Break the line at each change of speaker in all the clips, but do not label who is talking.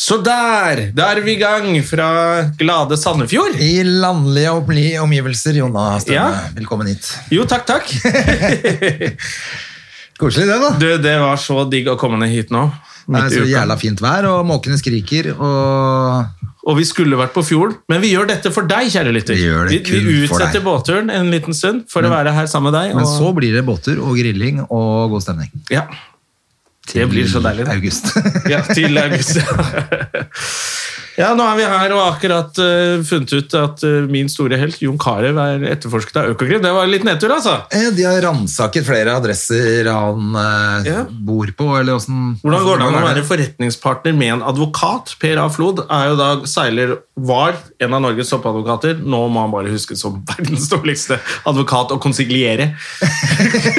Så der! Da er vi i gang fra glade Sandefjord.
I landlige omli- omgivelser, Jonna Stømme.
Ja.
Velkommen hit.
Jo, takk, takk.
Koselig det, da.
Du, det var så digg å komme ned hit nå.
Det
midt
er
i
så
uka.
jævla fint vær, og måkene skriker, og
Og vi skulle vært på fjorden, men vi gjør dette for deg, kjære lytter.
Vi gjør det
vi,
kun for
utsetter
deg. Mm.
båtturen en liten stund for å være her sammen med deg.
Men
og-
så blir det båter og grilling og god stemning.
ja. Det blir så deilig.
I
det.
august.
Ja, til august. Ja, nå er vi her og akkurat eh, funnet ut at eh, min store helt, Jon Carew, er etterforsket av Økokrim. Det var en litt nedtur, altså.
Eh, De har ransaket flere adresser han eh,
Ja.
bor på, eller åssen
Hvordan går det an å
er
være forretningspartner med en advokat? Per A. Flod er jo da seiler var en av Norges toppadvokater. Nå må han bare huskes som verdens dårligste advokat å konsigliere.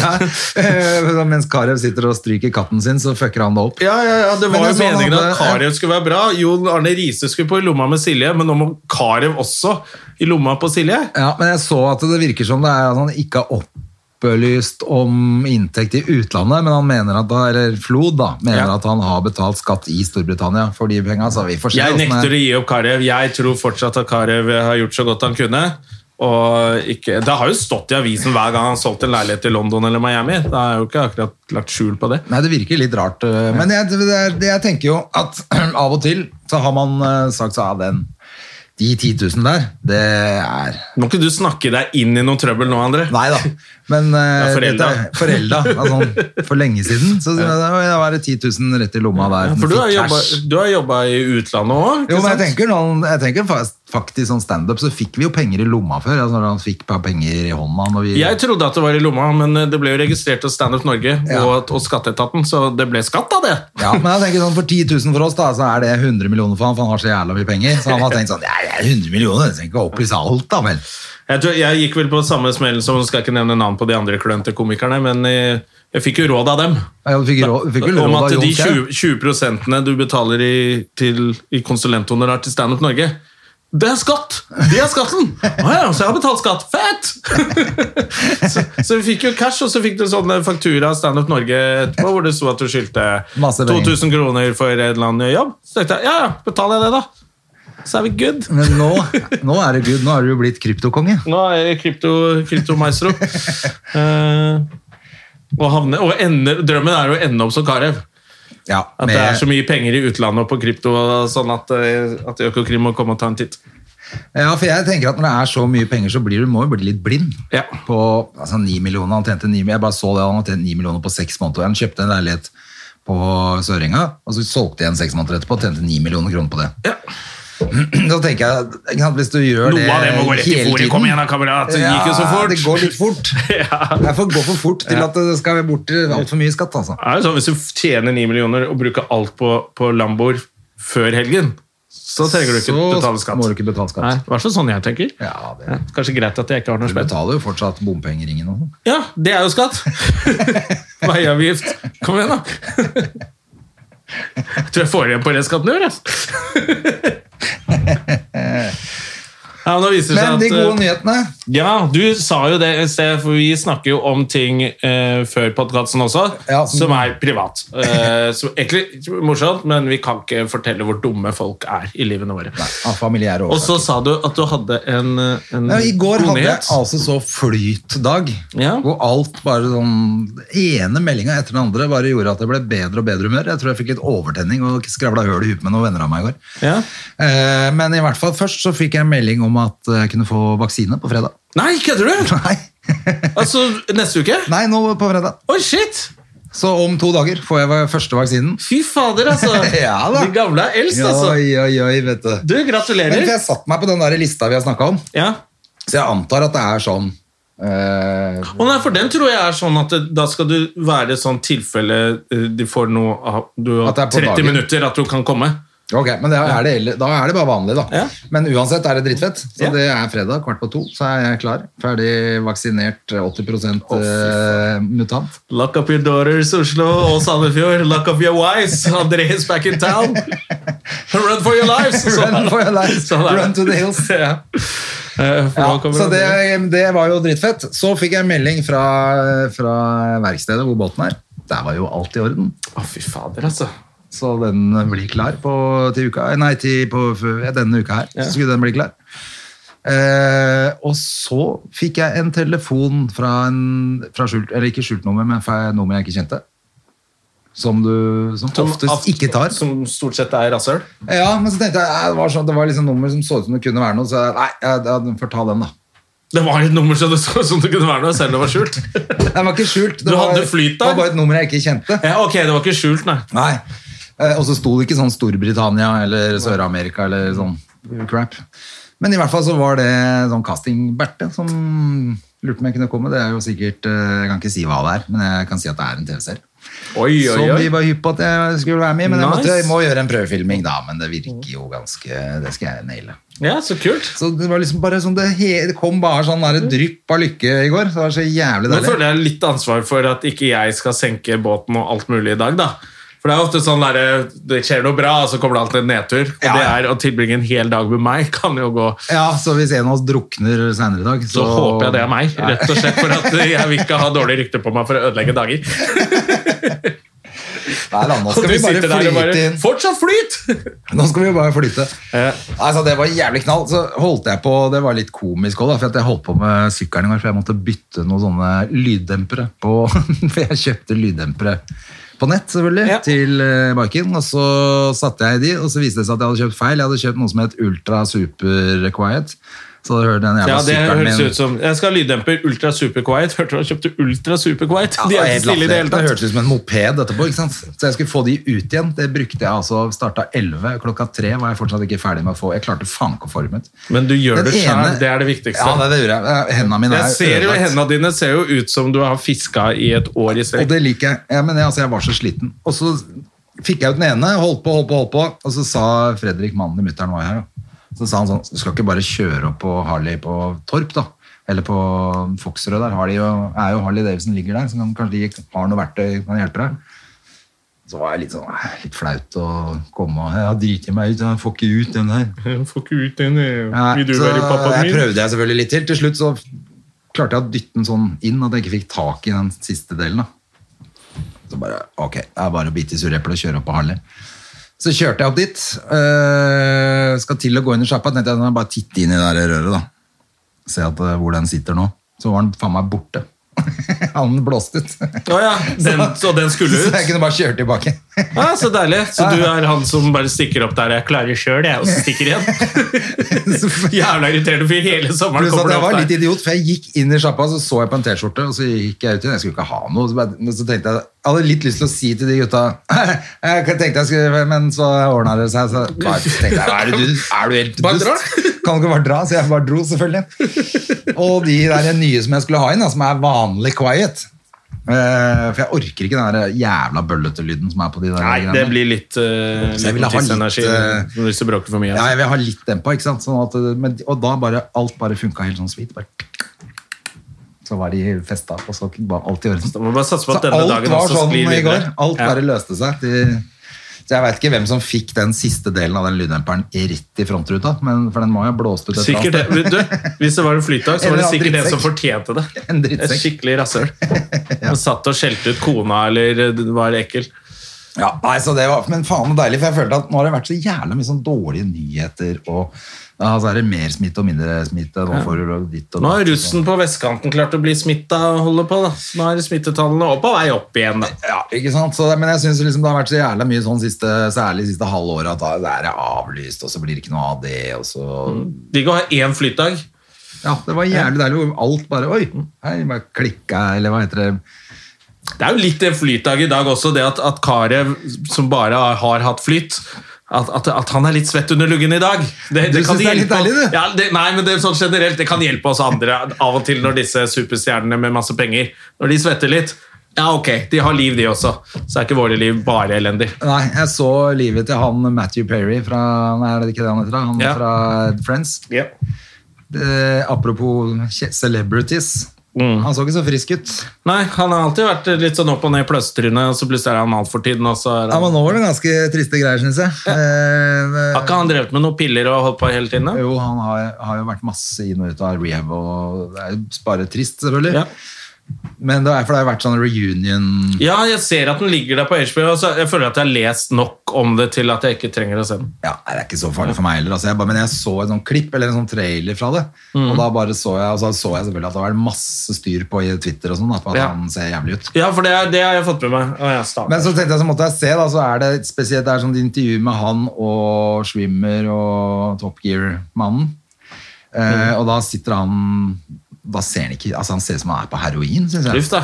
ja. eh, Mens Carew sitter og stryker katten sin, så fucker han det opp.
Ja, ja, ja, Det
Men
var jo
det er sånn
meningen
han
at eh,
hadde-
Carew skulle være bra. Jon Arne Riise skulle på i lomma med Silje, men nå må Carew også i lomma på Silje.
Ja, men jeg så at det virker som det er at han ikke har opplyst om inntekt i utlandet, men han mener at, eller Flod da, mener
Ja.
at han har betalt skatt i Storbritannia for de penga, så vi får se.
Jeg
hvordan det-
nekter å gi opp Carew. Jeg tror fortsatt at Carew har gjort så godt han kunne. Og ikke, det har jo stått i avisen hver gang han har solgt en leilighet i London eller Miami. Det er jo ikke akkurat lagt skjul på det.
Nei, det virker litt rart, øh, men jeg, det er, det- jeg tenker jo at av og til så har man øh, sagt så av den, de 10 000 der, det er...
Må ikke du snakke deg inn i noe trøbbel nå, André?
Nei da, men øh,
Ja, forelda.
dette er- forelda, altså, for lenge siden, så det var det 10 000 rett i lomma der.
Ja, for du har,
Fikk
jobba,
cash.
du har jobba i utlandet òg?
Jo, men jeg tenker, noen, jeg tenker fast- faktisk sånn standup, så fikk vi jo penger i lomma før. Altså når han fikk bare penger i hånda. Når vi,
Jeg trodde at det var i lomma, men eh, det ble jo registrert hos Standup Norge
Ja.
og, og Skatteetaten, så det ble skatt av det.
ja, men jeg tenker sånn, For 10 000 for oss, da, så er det 100 millioner for han, for han har så jævla mye penger. Så han har tenkt sånn Ja, det er 100 millioner, jeg trenger ikke å opplyse alt, da vel.
Jeg, tror, jeg gikk vel på samme smell som skal ikke nevne navn på de andre klønete komikerne, men jeg, jeg fikk jo råd av dem.
Ja, du fikk, rå, du fikk vel
Om
råd av
at de
Jon Kjær.
20, 20 du betaler i, til, i konsulenthonorar til Standup Norge det er skatt! Det er skatten! Å ja, så jeg har betalt skatt. Fett! så, så vi fikk jo cash, og så fikk du sånn faktura av Standup Norge etterpå, hvor det sto at du skyldte
Masse penger.
2000 kroner for en eller annen jobb. Så tenkte jeg ja, ja, betaler jeg det, da. Så er vi good.
Men nå, nå er det good, nå er du jo blitt kryptokonge.
Nå er jeg krypto- kryptomaestro. Eh, og havne, og ender, drømmen er jo å ende opp som Carew.
Ja,
At det er så mye penger i utlandet og på krypto og sånn at, eh, at Økokrim må komme og ta en titt.
ja, for jeg tenker at når det er så mye penger, så blir du, må du bli litt blind.
Ja.
På altså, 9 millioner, han tjente 9 Jeg bare så det, han hadde tjent 9 millioner på seks måneder. Han kjøpte en leilighet på Sørenga, og så solgte jeg en seks måneder etterpå og tjente 9 millioner kroner på det.
Ja.
Da tenker jeg, ikke sant, hvis du gjør
Noe
det
av det må gå rett i
hele
fôret.
tiden-
Kom igjen da, kamerat! Det
Ja,
gikk jo så fort.
det går litt fort. Det får gå for fort til at det skal bort til altfor mye skatt, altså.
Det er jo sånn, Hvis du tjener 9 millioner og bruker alt på, på Lamboer før helgen, så trenger du ikke
Så
betale skatt.
må du ikke betale skatt.
Nei, I hvert fall sånn jeg tenker.
Ja, det-
Ja, Kanskje greit at jeg ikke har noe
Du
spenn.
betaler jo fortsatt bompengeringen og sånn.
Ja, det er jo skatt! Veiavgift. Kom igjen, da! Jeg tror jeg får igjen på restskatten i år, jeg. Ja, men nå viser det seg
Men de
at, eh,
gode nyhetene
Ja, du sa jo det i sted, for vi snakker jo om ting eh, før podkasten også,
Ja.
som er privat. Eh, som egentlig morsomt, men vi kan ikke fortelle hvor dumme folk er i livene våre.
av familiære
Og
årsaker.
så sa du at du hadde en, eh, en
Ja, I går
god
hadde jeg
nyhet.
altså så flytdag,
Ja.
hvor alt bare sånn den ene meldinga etter den andre bare gjorde at det ble bedre og bedre humør. Jeg tror jeg fikk litt overtenning og skravla høl i huet med noen venner av meg i går.
Ja.
Eh, Men i hvert fall først så fikk jeg melding om at jeg kunne få vaksine på fredag.
Nei, kødder du?!
Nei,
Altså neste uke?
Nei nå på fredag.
Oi, shit!
Så om to dager får jeg første vaksinen.
Fy fader, altså.
Ja, da.
De gamle er eldst, altså.
Oi, oi, oi, vet du.
Du,
Men for
gratulerer.
jeg satte meg på den der lista vi har snakka om,
Ja.
så jeg antar at det er sånn Eh,
Å nei, for den tror jeg er sånn at det, da skal du være sånn tilfelle eh, de får noe av Du har
At det er på
30
dagen.
minutter at du kan komme.
ok, men det er det, heller- da er det bare vanlig, da.
Ja.
Men uansett er det drittfett. Så
Ja.
det er fredag kvart på to, så er jeg klar. Ferdig vaksinert 80
Å, fy
eh, mutant.
Lock up your daughters, Oslo og Sandefjord. Lock up your wives, Andreas back in town. Run for your lives! Sånn er
Run
det.
for your lives.
Sånn er det.
Run to the hills.
Ja. Eh, for nå
Ja,
kommer
så det,
Andreas.
det var jo dritfett. Så fikk jeg melding fra, fra verkstedet hvor båten er. Der var jo alt i orden.
Å, fy fader, altså.
Så den blir klar på, til uka, nei, til, på, ja, denne uka her. Så skulle den bli klar. Eh, og så fikk jeg en telefon fra en fra skjult, eller ikke skjult nummer, men fra et nummer jeg ikke kjente. Som du som oftest
av-
ikke tar.
Som stort sett er rasshøl.
Ja, men så tenkte jeg, eh, det var, sånn, det var liksom nummer som så ut som det kunne være noe, så jeg, nei, jeg, jeg får ta den da.
Det var et nummer som det, så- som det kunne være noe, selv om det var skjult.
Den var ikke skjult. Det
Du
var,
hadde flyt, da?
det var bare et nummer jeg ikke kjente.
ja, ok, det var ikke skjult, nei.
Nei. Eh, Og så sto det ikke sånn Storbritannia eller Sør-Amerika eller sånn crap. Men i hvert fall så var det sånn casting-Berte som lurte på om jeg kunne komme. Det er jo sikkert eh, Jeg kan ikke si hva det er, men jeg kan si at det er en TV-serie.
Oi,
Som
oi,
de
oi.
var hypp på at jeg skulle være med i, men jeg, måtte,
Nice.
jeg må gjøre en prøvefilming da. Men det virker jo ganske Det skal jeg naile.
Ja, så kult.
Så det var liksom bare sånn Det, he, det kom bare sånn der drypp av lykke i går. Så det var så jævlig
Nå
deilig.
føler jeg litt ansvar for at ikke jeg skal senke båten og alt mulig i dag, da. For det er ofte sånn der, det skjer noe bra, og så kommer det alltid en nedtur. Og
Ja.
det er å tilbringe en hel dag med meg, kan jo gå.
Ja, så hvis en av oss drukner senere i dag,
Så håper jeg det er meg,
Nei.
rett og slett. For at jeg vil ikke ha dårlig rykte på meg for å ødelegge dager.
Nei, da, nå
Og
skal
du
vi bare
sitter der
flyte
og bare,
inn.
Fortsatt flyt!
Nå skal vi bare flyte.
Ja.
Altså, det var jævlig knall. Så holdt jeg på, det var litt komisk også, da, for at jeg holdt på med sykkelen i går, for jeg måtte bytte noen sånne lyddempere på, for jeg kjøpte lyddempere på nett, selvfølgelig,
Ja.
til eh, biken, og så satte jeg i de, og så viste det seg at jeg hadde kjøpt feil. Jeg hadde kjøpt noe som het Ultra Super Quiet, så da hørte den jævla
Ja, det
sykkelen min.
høres ut som Jeg skal ha lyddemper Ultra Super Quiet. Hørte du han kjøpte Ultra Super Quiet? De er
Ja,
ikke
helt
stille i det
latterlig.
hele tatt.
hørtes ut som en moped etterpå. ikke sant? Så jeg skulle få de ut igjen. Det brukte jeg altså. Starta 11, klokka 3 var jeg fortsatt ikke ferdig med å få. Jeg klarte faen ikke å få dem ut.
Men du gjør
Den
det sjøl,
ene-
det er det viktigste.
Ja, det, det gjorde jeg. Eh, Hendene mine
jeg
er
ser jo
ødelagt.
Hendene dine ser jo ut som du har fiska i et år i
Og
strekk.
det liker jeg. Ja, men jeg, altså, jeg var så sliten. Og så fikk jeg ut den ene, holdt på, holdt på, holdt på. Og så sa Fredrik, mannen i mutter'n, var her. Da. Så sa han sånn, du skal ikke bare kjøre opp på Harley på Torp, da. Eller på Foxrød der. Harley og, er jo Harley Davidson ligger der, så kan, kanskje de har noe verktøy kan hjelpe deg. Så var jeg litt sånn, eh, litt flaut å komme og Jeg har driti meg ut, jeg får ikke ut den her.
Jeg Får ikke ut den eh,
Nei,
Vil du
så
være pappaen
jeg
min?
prøvde jeg selvfølgelig litt til. Til slutt så klarte jeg å dytte den sånn inn at jeg ikke fikk tak i den siste delen. Da. Så bare, ok, det er bare å bite i sureplet og kjøre opp på Harley. Så kjørte jeg opp dit. øh, skal til å gå under sjappa. Tenkte jeg, nå må jeg bare titte inn i det der røret, da. Se at, øh, hvor den sitter nå. Så var den faen meg borte. Han blåste ut.
Å ja, den, så den skulle
Så jeg
ut?
kunne bare kjøre tilbake.
Ja, Så deilig. Så du er han som bare stikker opp der 'jeg klarer sjøl', jeg, og så stikker igjen? Jævla irriterende fyr. Hele sommeren
Pluss at
kommer du
jeg var
opp
litt
der.
idiot, for jeg gikk inn i sjappa, så så jeg på en T-skjorte, og så gikk jeg ut igjen. Jeg skulle ikke ha noe. Så, bare, men så tenkte jeg, jeg hadde litt lyst til å si til de gutta Jeg tenkte jeg skulle, men så ordna det seg. Så bare tenkte jeg, er du, er du helt
Bare
dust?
dra.
Kan du ikke bare dra? Så jeg bare dro, selvfølgelig. Og de der nye som jeg skulle ha inn, da, som er vanlig quiet Eh, For jeg orker ikke den der jævla bøllete lyden som er på de der
Nei, det blir litt, uh,
Så jeg
litt
ville ha litt,
tidsenergi
eh,
hvis du bråker for mye.
Ja, jeg vil ha litt dempa, ikke sant? Sånn at, men, og da bare, alt bare funka helt sånn sweet. Bare. Så var de festa, og så var alt i
Da
orden.
må vi bare satse på
Så
at denne
alt
dagen
var
også
sånn
sklir
i går.
videre.
Alt
Ja.
bare løste seg. De, så jeg veit ikke hvem som fikk den siste delen av den lyddemperen rett i frontruta, men, for den må jo ha blåst ut et
Sikkert det.
eller annet
Vet Du, hvis det var en flytdag, så var
Eller
det
en
sikkert en
drittsekk.
som fortjente det.
En
Et
drittsekk.
skikkelig rasshøl. Som satt og skjelte ut kona eller det var ekkel.
sted. Ja, nei, så det var, men faen så deilig, for jeg følte at nå har det vært så jævla mye sånn dårlige nyheter, og ja, så er det mer smitte og mindre smitte. Nå får du ditt og
Nå har
datt.
russen på vestkanten klart å bli smitta og holde på. da. Så Nå er smittetallene opp på vei opp igjen. da.
Ja, ikke sant? Så, det- men jeg synes liksom det har vært så jævla mye sånn siste, særlig siste halvåret at da det er avlyst, og så blir det ikke noe av det, og så...
Digg å ha én flytdag.
Ja, det var jævlig deilig hvor alt bare, oi,
Mm.
hei, bare klikket, eller hva heter det?
Det er jo litt en flytdag i dag også, det at, at karet som bare har hatt flyt, At, at, at han er litt svett under luggen i dag. Det,
Du synes det er litt
hjelpe-
deilig, du?
Ja, det, nei, men det, er sånn generelt, det kan hjelpe oss andre av og til når disse superstjernene med masse penger Når de svetter litt. Ja, ok, de har liv, de også. Så er ikke våre liv bare elendig.
Nei, jeg så livet til han Matthew Perry fra nei, Er det ikke det han heter? da? Han
Ja.
fra Friends.
Ja.
Eh, apropos kje- celebrities.
Mm.
Han så ikke så frisk ut.
Nei, han har alltid vært litt sånn opp og ned i pløstrynet, og så plutselig er han alt for tiden, og så er
Ja,
han
men nå var det ganske triste greier, syns jeg.
Har
Eh,
ikke han drevet med noen piller og holdt på hele tiden? da?
jo, han har, har jo vært masse inn og ut av rehab, og det er jo bare trist, selvfølgelig.
Ja.
Men det er for det har vært sånn reunion
ja, jeg ser at den ligger der på HBO, og så jeg føler at jeg har lest nok om det til at jeg ikke trenger å se den.
Ja, det er ikke så farlig for meg heller. Altså, jeg bare, men jeg så en sånn klipp eller en sånn trailer fra det.
Mm.
Og da bare så jeg, og så så jeg selvfølgelig at det var masse styr på i Twitter og sånn, at at
Ja.
han ser jævlig ut.
Ja, for det, er- det har jeg fått med meg. Og jeg starter.
Men så tenkte jeg så måtte jeg se, da, så er det et spesielt det er sånn intervju med han og Schwimmer og Top Gear-mannen. Eh,
Mm.
og da sitter han Da ser han ikke Altså, han ser ut som han er på heroin, syns jeg.
Uff da.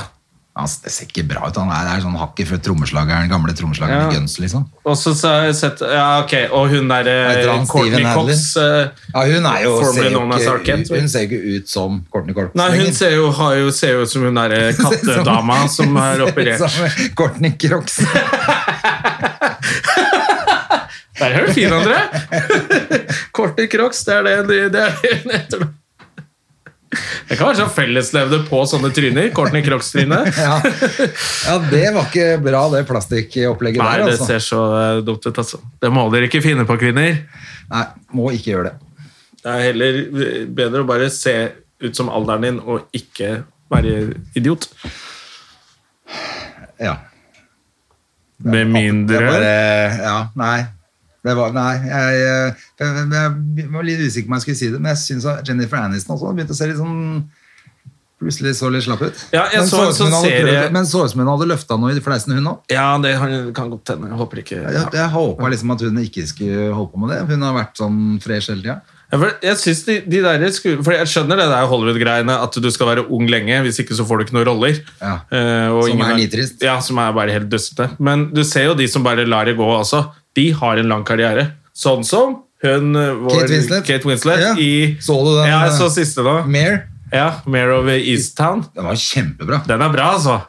Han s- det ser ikke bra ut. Han er, er sånn hakket før trommeslageren, gamle trommeslageren
Ja.
i Guns, liksom.
Og så så har jeg sett Ja, ok, og hun der eh,
Heter han
Courtney
Steven
Cox eh,
Ja, hun er jo, ser
Formerly
jo
known as
ikke,
Arquette,
ut- hun ser jo ikke ut som Courtney Cox.
Nei, hun
lenger.
ser jo, har jo, ser jo ut som hun derre kattedama som er operert.
Som Courtney Cox.
Der er du fin, André! Courtney Crox, det er det de- det er det hun heter. nå. Det kan være sånn felleslevde på sånne tryner. Courtney Crox-trynet.
Ja. ja, det var ikke bra, det plastikkopplegget
Nei,
der.
det
Altså.
ser så eh, dumt ut, altså. Det må dere ikke finne på, kvinner.
Nei, må ikke gjøre det.
Det er heller bedre å bare se ut som alderen din og ikke være idiot.
Ja.
Med
Det er
mindre
bare- ja, nei. Det var, nei, jeg, eh, jeg, jeg var litt usikker på om jeg skulle si det, men jeg syns at Jennifer Aniston også begynte å se litt sånn Plutselig så litt slapp ut.
Ja, jeg
men
så en
ut som hun
sånn
hadde
serie-
prøvd- men så ut som hun hadde løfta noe i fleisen, hun òg.
Ja, det har- kan godt hende. Jeg håper ikke
Jeg,
ja.
jeg håpa liksom at hun ikke skulle holde på med det. Hun har vært sånn fresh hele tida.
Ja, for Jeg synes de, de der sku- For jeg skjønner det der Hollywood-greiene at du skal være ung lenge, hvis ikke så får du ikke noen roller.
Ja.
Eh, og
Som
ingen
er nitrist.
Ja, som er bare helt dustete. Men du ser jo de som bare lar det gå også. De har en lang karriere. Sånn som hun eh, vår,
Kate Winslet.
Kate Winslet
Ja.
i
Så du den,
Ja, jeg så
eh,
siste nå.
Mare,
Ja, Mare of Easttown.
den var kjempebra.
Den er bra, altså.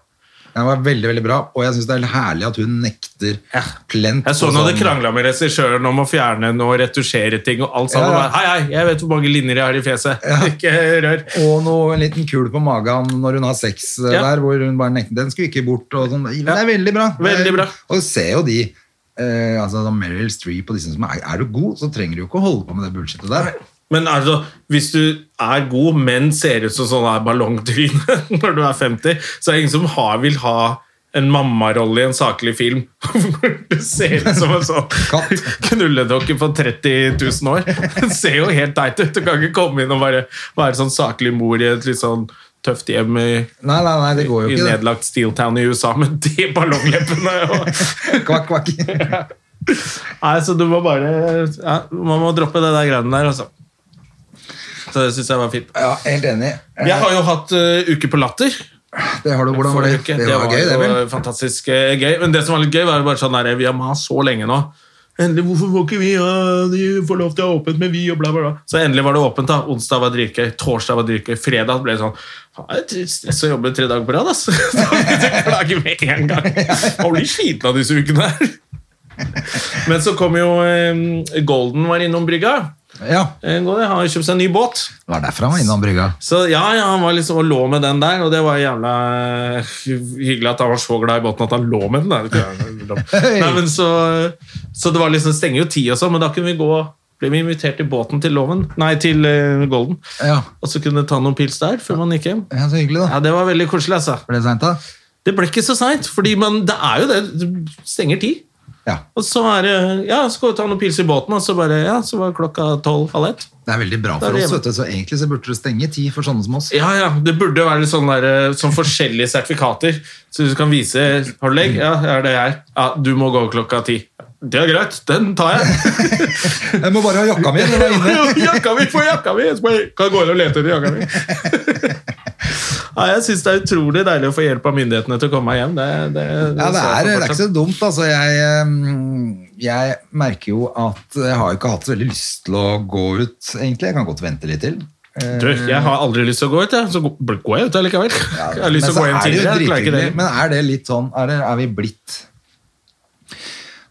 Den var veldig, veldig bra Og jeg syns det er herlig at hun nekter
Ja.
plent.
Jeg så
på
hun hadde
sånn-
krangla med regissøren om å fjerne noe, retusjere ting og alt sammen.
Ja,
Bare,
ja.
Hei, hei, jeg vet hvor mange linjer jeg har i fjeset. Ikke rør.
Og noe, en liten kul på magen når hun har sex eh,
Ja.
der, hvor hun bare nekter. Den skulle ikke bort. Og sånn. Det
Ja.
er veldig bra.
Veldig bra.
Og du ser jo de eh, altså, da Meryl Streep og disse som er, er du god, så trenger du jo ikke å holde på med det bullshitet der.
Men altså, hvis du er god, men ser ut som sånn der ballongtryne når du er 50, så er det ingen som har, vil ha en mammarolle i en saklig film hvor du ser ut som en sånn
Katt.
knulledokke på 30 000 år. Det ser jo helt teit ut. Du kan ikke komme inn og bare være sånn saklig mor i et litt sånn tøft hjem i,
Nei, nei, nei, det
i
går jo ikke. det.
nedlagt Steel Town i USA med de ballongleppene. Og...
Kvakk, kvakk.
Nei, så du må bare ja, Man må droppe det der greiene der, altså. Så det syns jeg var fint.
Ja, helt enig. Eh,
Jeg har jo hatt eh, Uke på latter.
Det har du, hvordan var det?
forrige uke.
Det var gøy, det
jo
vel?
Fantastisk eh, gøy. Men det som var litt gøy, var jo bare sånn der Vi har mast så lenge nå. Endelig, hvorfor får ikke vi ha De får lov til å ha åpent med vi, og bla, bla, bla. Så endelig var det åpent, da. Onsdag var dritgøy, torsdag var dritgøy, fredag ble det sånn «Faen, Det er stress å jobbe tre dager på rad, ass. Da blir det klage med en gang. Man blir sliten av disse ukene her. Men så kom jo eh, Golden var innom brygga.
Ja,
Eh, Golden har jo kjøpt seg en ny båt.
det var derfor han var innom brygga.
Så ja, ja, han var liksom og lå med den der, og det var jævla eh, hyggelig at han var så glad i båten at han lå med den. Der. Det er jo ikke det. Nei, men så, så det var liksom, stenger jo ti og sånn, men da kunne vi gå, ble vi invitert i båten til Loven, nei, til eh, Golden,
Ja,
og så kunne ta noen pils der før man gikk hjem.
ja så hyggelig da.
Ja, det var veldig koselig, altså.
Ble det sent da?
Det ble ikke så seint, fordi man, det er jo det, det stenger ti.
Ja,
Og så er det, ja, så skal vi ta noen pils i båten, og så bare, ja, så var klokka tolv, halv ett.
det er veldig bra
Da er
for
det
oss,
hjemme.
vet du. Så egentlig så burde du stenge ti for sånne som oss.
Ja, ja, det burde jo være litt sånn, der, eh, sånn forskjellige sertifikater. Så du kan vise Har du legg? Ja, er det her. Ja, du må gå klokka ti. Det er greit, den tar jeg.
Jeg må bare ha jakka mi, den var inne.
jakka mi, få jakka mi! Jeg skal- Kan gå inn og lete etter jakka mi. Nei, jeg syns det er utrolig deilig å få hjelp av myndighetene til å komme meg hjem. Det, det,
Ja,
ser
det
jeg
er, det
på
er ikke
fortsatt.
så dumt. Altså, jeg, ehm, jeg merker jo at jeg har jo ikke hatt så veldig lyst til å gå ut, egentlig. Jeg kan godt vente litt til. Eh,
Du, jeg har aldri lyst til å gå ut, jeg. Så går går jeg ut allikevel. Jeg har lyst til å
men
gå
så
hjem
er det jo
tidligere. Jeg klarer ikke det.
drithyggelig. Men er det litt sånn Er, det, er vi blitt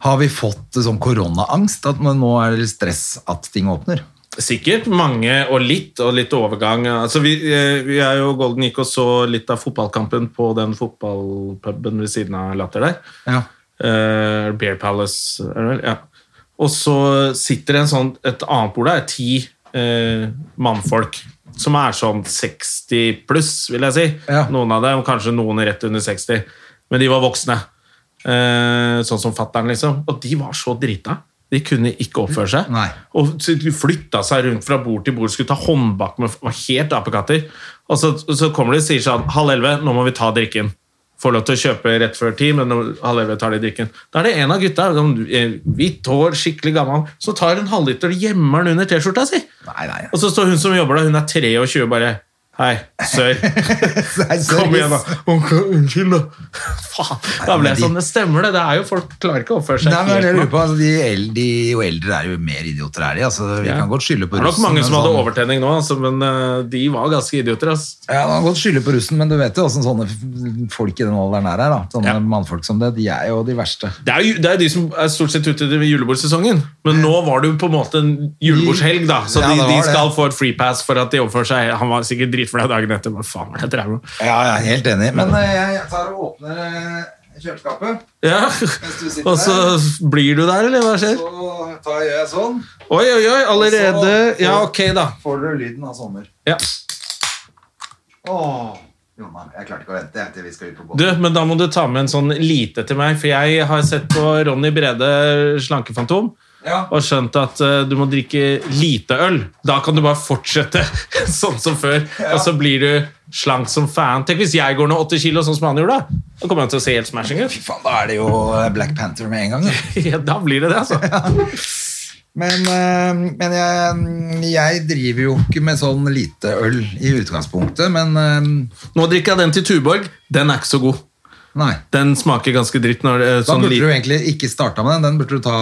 Har vi fått sånn koronaangst? At nå er det litt stress at ting åpner?
Sikkert mange og litt, og litt overgang. Altså, vi, eh, vi er jo Golden gikk og så litt av fotballkampen på den fotballpuben ved siden av Latter der.
Ja.
Eh, Beer Palace, er det vel? Ja. Og så sitter det en sånn, et annet bord der, ti eh, mannfolk, som er sånn 60 pluss, vil jeg si.
Ja.
Noen av dem, kanskje noen rett under 60. Men de var voksne. Eh, sånn som fatteren, liksom. Og de var så drita. De kunne ikke oppføre seg.
Nei.
Og så de flytta seg rundt fra bord til bord, skulle ta håndbak med var helt apekatter. Og så, så kommer de og sier sånn Halv elleve, nå må vi ta drikken. Får lov til å kjøpe rett før ti, men nå- halv elleve tar de drikken. Da er det en av gutta, sånn, eh, hvitt hår, skikkelig gammel, som tar en halvliter og gjemmer den under T-skjorta si.
Nei, nei.
Og så står hun som jobber der, hun er 23, bare Hei, sør.
Nei,
Kom igjen, da.
seriøst.
Onkel, unnskyld, da. Faen. Da ble jeg
Nei,
sånn
men de-
Det stemmer, det. Det er jo folk klarer ikke å oppføre seg
Nei, men det er det jeg
helt
lurer på, altså, de, el- de jo eldre er jo mer idioter, er de. Altså, vi
Ja.
kan godt skylde på
Det er nok
russen,
mange
men
som hadde
sånn-
overtenning nå, altså, men eh, de var ganske idioter. Ass.
Ja, man kan godt skylde på russen, men du vet jo hvordan sånne f- folk i den alderen her er. Da. Sånne
Ja.
mannfolk som det, de er jo de verste.
Det er jo det er de som er stort sett ute i julebordsesongen, men nå var det jo på en måte en julebordshelg, da, så
Ja,
de,
det var
de
det.
skal få et free pass for at de oppfører seg Han var sikkert dritfornøyd dagen etter, men faen, jeg drev med
Ja, jeg er helt enig. Men eh, jeg tar og åpner eh, kjøleskapet.
ja.
du sitter
Og så blir du der, eller hva skjer?
Så tar jeg sånn.
Oi, oi, oi, allerede
Så-
Ja, ok, da.
Får dere lyden av sommer.
Ja.
Åh, Jonna, jeg klarte ikke å vente jeg, til vi skal ut på båten.
Du, men da må du ta med en sånn lite til meg, for jeg har sett på Ronny Brede Slankefantom
Ja.
og skjønt at eh, du må drikke lite øl. Da kan du bare fortsette sånn som før, og så blir du slank som fan. Tenk hvis jeg går ned 80 kilo sånn som han gjorde, da. Da kommer han til å se helt smashing ut.
Fy faen, da er det jo eh, Black Panther med en gang. Da.
Ja, da blir det det, altså.
Men, eh, men jeg, mm, jeg driver jo ikke med sånn lite øl i utgangspunktet, men eh,
Nå drikker jeg den til Tuborg. Den er ikke så god.
nei.
Den smaker ganske dritt når det er
Da
sånn
burde du
liten.
egentlig ikke starta med den. Den burde du ta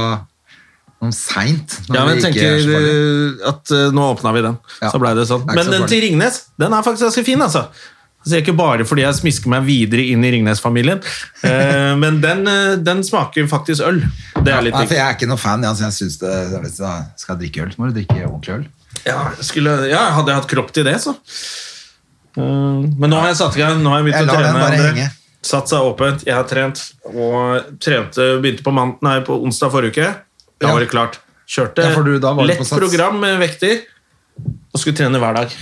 noe seint. når
Ja, men
det
jeg
ikke er
tenker
så farlig.
eh, at eh, nå åpna vi den,
Ja.
så ble det sånn.
Det er ikke
Men
så
den
farlig.
til Ringnes, den er faktisk ganske fin, altså. Altså, ikke bare fordi jeg smisker meg videre inn i Ringnes-familien, eh, men den, eh, den smaker faktisk øl. Det er litt
Nei,
digg.
for jeg er ikke noe fan. ja, så jeg synes det, hvis du skal drikke øl, så må du drikke ordentlig øl.
Ja, skulle, ja, hadde jeg hatt kropp til det, så. Eh, men nå har jeg satt i gang. Nå har jeg
Jeg
begynt å
lar den
trene.
bare
André.
henge.
Satt seg åpent. Jeg har trent og trente, begynte på, man, nei, på onsdag forrige uke. Da
Ja.
var det klart. Kjørte
Ja, for du- da var du på
lett
sats.
program med vekter og skulle trene hver dag.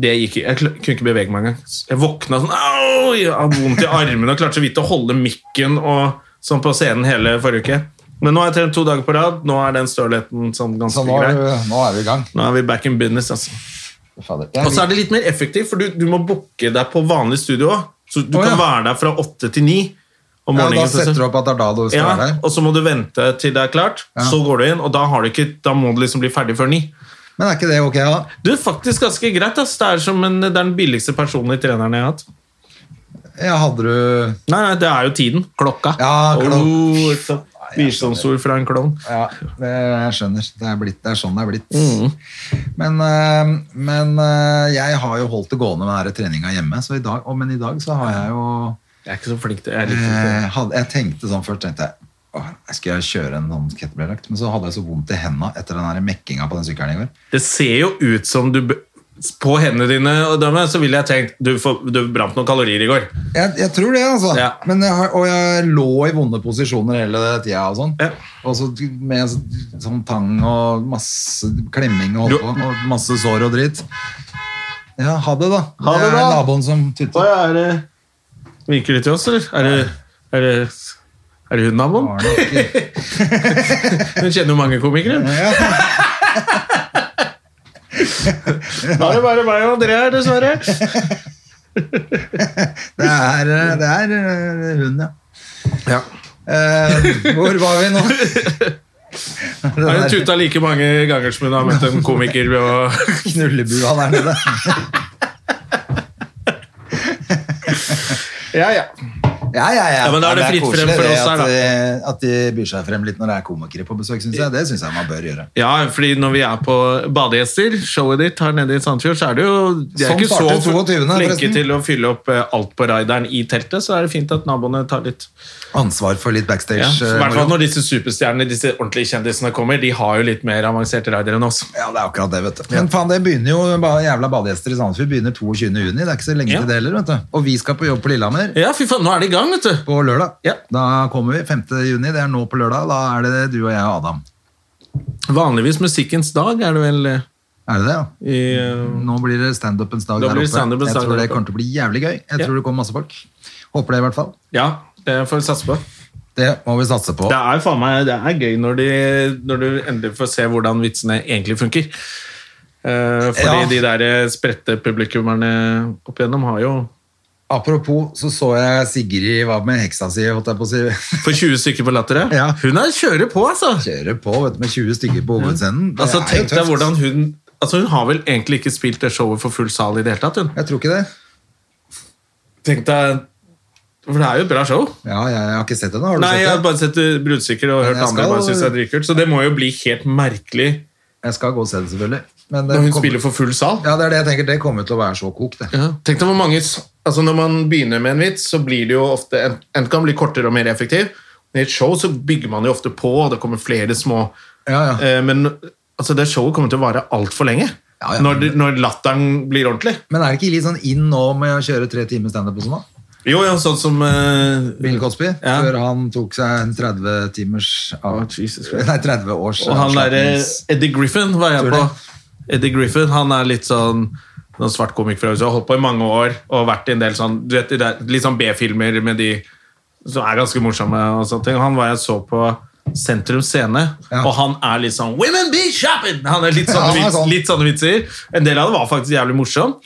Det gikk ikke. Jeg kl- kunne ikke bevege meg engang. Jeg våkna sånn Au! Jeg hadde vondt i armene og klarte så vidt å holde mikken og sånn på scenen hele forrige uke. Men nå har jeg trent to dager på rad. Nå er den stølheten sånn ganske
Så nå er,
grei.
du, nå er vi i gang.
Nå er vi back in business, altså.
Fader.
Og så
Jeg,
er det litt mer effektivt, for du, du må booke deg på vanlig studio òg. Så du
Å,
kan
ja.
være der fra åtte til ni om
ja,
morgenen.
da
så-
setter du opp at det er da du skal
ja,
være der.
og så må du vente til det er klart.
Ja.
Så går du inn, og da, har du ikke, da må du liksom bli ferdig før ni.
Men er ikke det ok, da?
Du, faktisk ganske greit. Ass. Det er som en, det er den billigste personlige treneren jeg har hatt.
Ja, hadde du
Nei, nei, det er jo tiden. Klokka.
Ja, klokka.
Oh, et sånt Visdomsord fra en klovn.
Ja, det, jeg skjønner. Det er, blitt, det er sånn det er blitt. Men, eh, men eh, jeg har jo holdt det gående med denne treninga hjemme, så i dag, å, men i dag så har jeg jo
Jeg er ikke så flink til jeg er litt flink til det.
eh, hadde, Jeg tenkte sånn først, tenkte jeg Åh, jeg skulle kjøre en sånn kettlebell-økt, men så hadde jeg så vondt i henda etter den her mekkinga på den sykkelen i går.
Det ser jo ut som du b- På hendene dine og dømme, så ville jeg tenkt Du, får- du brant noen kalorier i går.
Jeg, jeg tror det, altså.
Ja.
Men jeg har, og jeg lå i vonde posisjoner hele tida og sånn.
Ja.
Og så med så- sånn tang og masse klemming og
Du-
holdt på, og masse sår og dritt. Ja, ha det, da.
Ha det,
er
da.
naboen som tutter.
ja, er det Vinker de til oss, eller? Er det, er det, er det hun naboen?
Var det ikke-
Hun kjenner jo mange komikere. Da er det bare meg og André her, dessverre.
Det er, eh, det er eh, hun, ja. Eh, hvor var vi nå?
Har hun
Den der
tuta like mange ganger som hun har møtt en komiker? Og...
knullebua der nede.
Ja, ja.
Ja, ja, ja.
Ja, men da er det fritt frem
koselig
for
det
oss her,
at,
da.
de- at de byr seg frem litt når det er komikere på besøk, syns jeg. Det syns jeg man bør gjøre.
ja, fordi når vi er på badegjester, showet ditt her nede i Sandfjord, så er det jo De er
Som
ikke så
starter 22.,
flinke
forresten.
til å fylle opp eh, alt på raideren i teltet, så er det fint at naboene tar litt.
Ansvar for litt backstage.
Ja. I hvert
eh,
fall når disse superstjernene, disse ordentlige kjendisene kommer, de har jo litt mer avanserte raider enn oss.
Ja, det er akkurat det, vet du. Men faen, det begynner jo ba- jævla badegjester i Sandefjord begynner 22. juni. Det er ikke så lenge
Ja.
til det heller, vet du. Og vi skal på jobb på Lillehammer
Ja, fy faen, nå er det i gang, vet du.
på lørdag.
Ja.
Da kommer vi 5. juni. Det er nå på lørdag. Da er det du og jeg og Adam.
Vanligvis musikkens dag er det vel eh,
Er det det, ja?
i eh,
Nå blir det standupens dag
Da
der
blir det
oppe.
standupens
Jeg
dag
tror
der
det
oppe.
kommer til å bli jævlig gøy. Jeg
Ja.
tror det kommer masse folk. Håper det, i hvert fall.
Ja, det får vi satse på.
Det må vi satse på.
Det er jo faen meg det er gøy når, de, når du endelig får se hvordan vitsene egentlig funker. Eh, fordi
Ja.
de der eh, spredte publikummerne opp igjennom har jo
Apropos, så så jeg Sigrid var med heksa si, holdt jeg på å si.
For 20 stykker på Latteret.
Ja.
Hun er kjører på, altså!
Kjøre på vet du, med 20 stykker på hovedscenen. Det
altså
er jo
tenk deg
tøft.
hvordan Hun altså hun har vel egentlig ikke spilt det showet for full sal i det hele tatt. hun.
Jeg tror ikke det.
Tenk deg, For det er jo et bra show.
Ja, jeg, jeg har ikke sett det nå. Har du
Nei, Jeg har
sett det?
bare sett eh, bruddstykker og
Men
hørt
jeg
andre
skal-
bare synes det er dritkult. Så det må jo bli helt merkelig
Jeg skal gå og se det, selvfølgelig. Men det
når hun
kommer-
spiller for full sal.
Ja, det er det jeg tenker. Det kommer til å være så kokt, det.
Ja. Tenk deg hvor mange s- altså Når man begynner med en vits, så blir det jo ofte en- enten kan den bli kortere og mer effektiv. Men I et show så bygger man jo ofte på, og det kommer flere små
Ja, ja.
eh, Men altså, det showet kommer til å vare altfor lenge.
Ja, ja.
Når, det- når latteren blir ordentlig.
Men er det ikke litt sånn inn nå med å kjøre tre timer standup og sånn? da?
Jo, ja, sånn som eh,
Bill Cosby,
Ja.
før han tok seg en 30 timers av,
Å, Jesus Christ.
Nei, 30 års
Og han derre
avslappnings-
Eddie Griffin var jeg
Tror
på.
det.
Eddie Griffin, han er litt sånn noen svart komikk fra USA. Holdt på i mange år og vært i en del sånn du vet, de der- litt sånn B-filmer med de som er ganske morsomme. og sånne ting. Han var jeg så på Sentrum Scene,
Ja.
og han er litt sånn Women be shopping! Han er litt sånne,
Ja, han er
vits,
sånn.
litt sånne vitser. En del av det var faktisk jævlig morsom.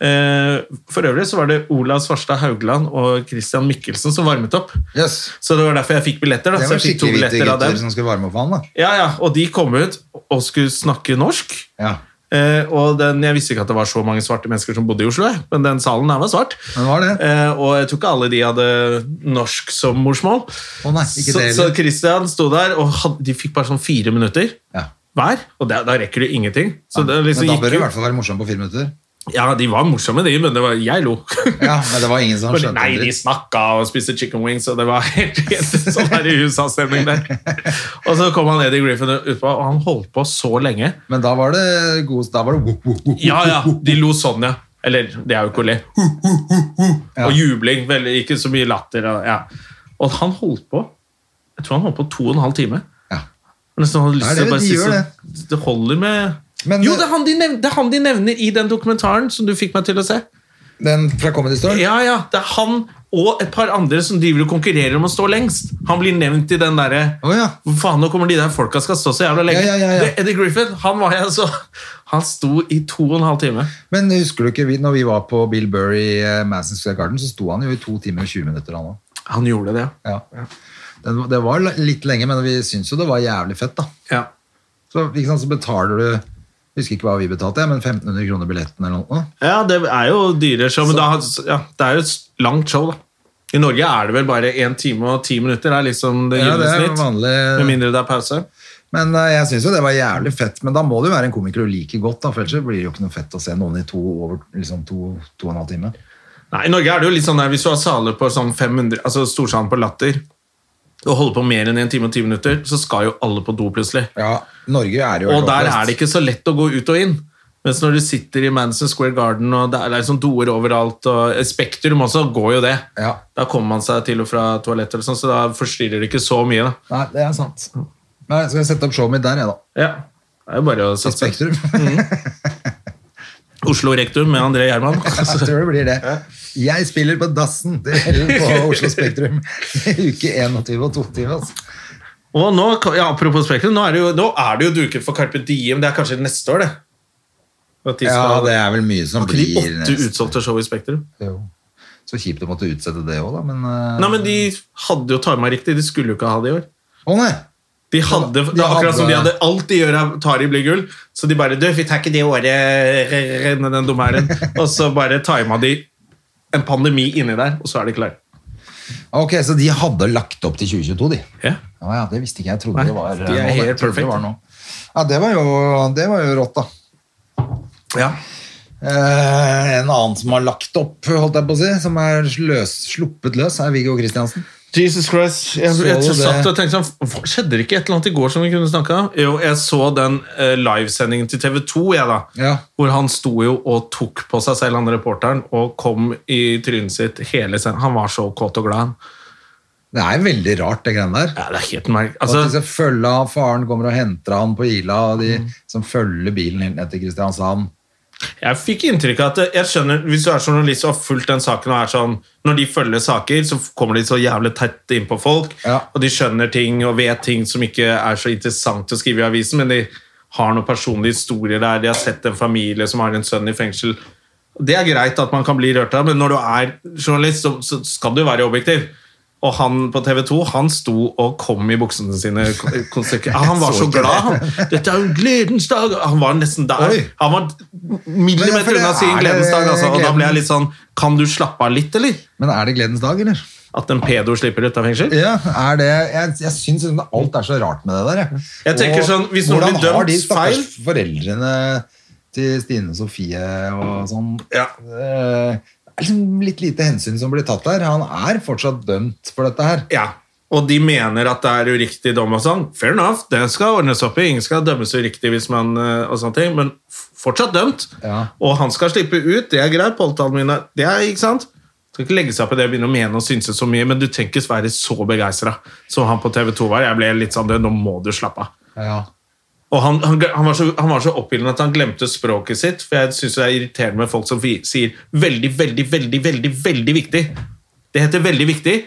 Eh, For øvrig så var det Olav Svarstad Haugland og Christian Mikkelsen som varmet opp.
Yes.
Så det var derfor jeg fikk billetter. da.
Det
Så
var
Altså, jeg fikk to
skikkelig hvite
billetter av
gutter
dem.
som skulle varme opp for han, da.
Ja, ja, og de kom ut og skulle snakke norsk.
Ja.
Eh, og den, Jeg visste ikke at det var så mange svarte mennesker som bodde i Oslo, jeg, men den salen her var svart.
Den var det.
Eh, og jeg tror ikke alle de hadde norsk som morsmål.
Å nei, ikke
så,
det
så
heller.
Christian sto der, og had, de fikk bare sånn fire minutter
Ja.
hver. Og da- da rekker du ingenting. Så det liksom
men da
gikk
bør du i
jo-
hvert fall være morsom på fire minutter.
Ja, de var morsomme, de, men det var, jeg lo.
Ja, men det var ingen som
Fordi,
skjønte
nei,
det.
de snakka og spiste chicken wings, og det var helt, helt sånn her i USA-stemning der. Og så kom han Eddie Griffin utpå, og han holdt på så lenge.
Men da var det god Da var det wop, wop, wop.
Ja, ja, de lo sånn, ja. Eller, det er jo ikke å le.
Ja.
Og jubling, veldig, ikke så mye latter. og- Ja. Og han holdt på, jeg tror han holdt på to og en halv time.
Ja.
Nesten hadde
Det
lyst
er
til
det
å bare
de
si
gjør,
så, det holder med...
Men- eh,
jo, det er, han de nevner, det er han de nevner i den dokumentaren som du fikk meg til å se.
Den fra Comedy Store?
Ja, ja, det er han og et par andre som driver og konkurrerer om å stå lengst. Han blir nevnt i den derre
Å ja.
Hvor faen, nå kommer de der folka skal stå så jævla lenge.
Ja, ja, ja, ja.
Det, Eddie Griffin, han var jeg så Han sto i to og en halv time.
Men husker du ikke, vi, når vi var på Bill Burr i eh, Madison Square Garden, så sto han jo i to timer og 20 minutter, han òg.
Han gjorde det,
Ja. Den, det var l- litt lenge, men vi syns jo det var jævlig fett, da.
ja.
Så, ikke sant, så betaler du jeg husker ikke hva vi betalte, ja, men 1500 kroner billetten eller noe.
Ja, det er jo dyre show, men da, ja, det er jo et langt show, da. I Norge er det vel bare én time og ti minutter. Det er liksom det
Ja,
gylne
det er
snitt. Med
vanlig.
mindre det er pause.
Men eh, jeg syns jo det var jævlig fett. Men da må det jo være en komiker du liker godt, da, for ellers så blir det jo ikke noe fett å se noen i to over liksom to, to og en halv time.
Nei, I Norge er det jo litt sånn der hvis du har saler på sånn 500 Altså Storsalen på Latter og holder på mer enn en time og ti minutter, så skal jo alle på do plutselig.
Ja, Norge er jo
Og der er det ikke så lett å gå ut og inn. Mens når du sitter i Madison Square Garden, og det er liksom doer overalt, og Spektrum også, går jo det.
Ja.
Da kommer man seg til og fra toaletter, og sånn, så da forstyrrer det ikke så mye. da.
Nei, det er sant. Nei, så skal jeg sette opp showet mitt der, jeg, da.
Ja, det er jo bare å
I
satse.
Spektrum.
Oslo Rektum med André Gjerman.
Jeg tror det blir det. Jeg spiller på dassen til- på Oslo Spektrum i uke 21 og 22. Altså.
Og nå, ja, Apropos Spektrum, nå er, det jo, nå er det jo duket for Carpe Diem. Det er kanskje neste år, det. At de
Ja,
skal-
det er vel mye som
Ikke de
blir
åtte
neste-
utsolgte show i Spektrum?
Jo. Så kjipt å måtte utsette det òg, da. Men, eh,
Nei, men de hadde jo tar meg riktig, de skulle jo ikke ha det i år.
Å nei!
De hadde,
De
det er akkurat som de hadde
hadde-
alt de gjør, er- tar i blir gull. Så de bare Du, vi tar ikke det året, r- r- r- med den dommeren. Og så bare tima de en pandemi inni der, og så er de klare.
Ok, så de hadde lagt opp til 2022, de.
Ja.
Ja, ja, det visste ikke jeg. Jeg trodde
Nei,
det var,
de er
jeg
helt
trodde det
perfekt.
var nå. Ja, det var, jo, det var jo rått, da.
Ja.
Eh, en annen som har lagt opp, holdt jeg på å si, som er løs, sluppet løs, er Viggo Kristiansen.
Jesus Christ. Jeg,
Så
jeg,
du det?
satt og tenkte sånn, "Hva- Skjedde det ikke et eller annet i går som vi kunne snakka om? Jo, jeg så den eh, livesendingen til TV 2, jeg, da.
Ja.
Hvor han sto jo og tok på seg selv, han reporteren, og kom i trynet sitt hele sendingen. Han var så kåt og glad, han.
Det er veldig rart, det greiene der.
Ja, det er helt merkelig.
At de
Altså,
skal følge av faren, kommer og henter han på Ila, og de
Mm.
som følger bilen helt ned til Kristiansand.
jeg fikk inntrykk av at eh, jeg skjønner, Hvis du er journalist og har fulgt den saken og er sånn Når de følger saker, så kommer de så jævlig tett innpå folk,
Ja.
og de skjønner ting og vet ting som ikke er så interessant å skrive i avisen, men de har noen personlige historier der, de har sett en familie som har en sønn i fengsel Det er greit at man kan bli rørt av, men når du er journalist, så, så skal du være objektiv. Og han på TV 2 han sto og kom i buksene sine. konsekvent. Han var så glad! han. 'Dette er jo en gledens dag!' Han var nesten der.
Oi.
Han var
Men for
millimeter
det
unna sin
er
gledens dag. Altså. Og da
gleden.
ble jeg litt sånn Kan du slappe av litt, eller?
Men er det gledens dag, eller?
At en pedo slipper ut av fengsel?
Ja, er det, jeg, jeg syns liksom alt er så rart med det der. Jeg,
Jeg tenker sånn, hvis noen
hvordan
blir dømt
har de stakkars
feil-
foreldrene til Stine og Sofie og sånn
Ja.
Eh, Det er liksom litt lite hensyn som blir tatt der. Han er fortsatt dømt for dette her.
Ja. Og de mener at det er uriktig dom og sånn. Fair enough, det skal ordnes opp i. Ingen skal dømmes uriktig hvis man eh, og sånne ting, men f- fortsatt dømt.
Ja.
Og han skal slippe ut, det er greit. Påtalen min er Det er ikke sant? Skal ikke legge seg opp i det og begynne å mene og synse så mye, men du trenger ikke være så begeistra som han på TV 2 var. Jeg ble litt sånn det, Nå må du slappe av.
Ja.
Og han, han, han, var så, han var så oppildende at han glemte språket sitt. For jeg syns det er irriterende med folk som vi- sier 'veldig, veldig, veldig, veldig veldig viktig'. Det heter 'veldig viktig'.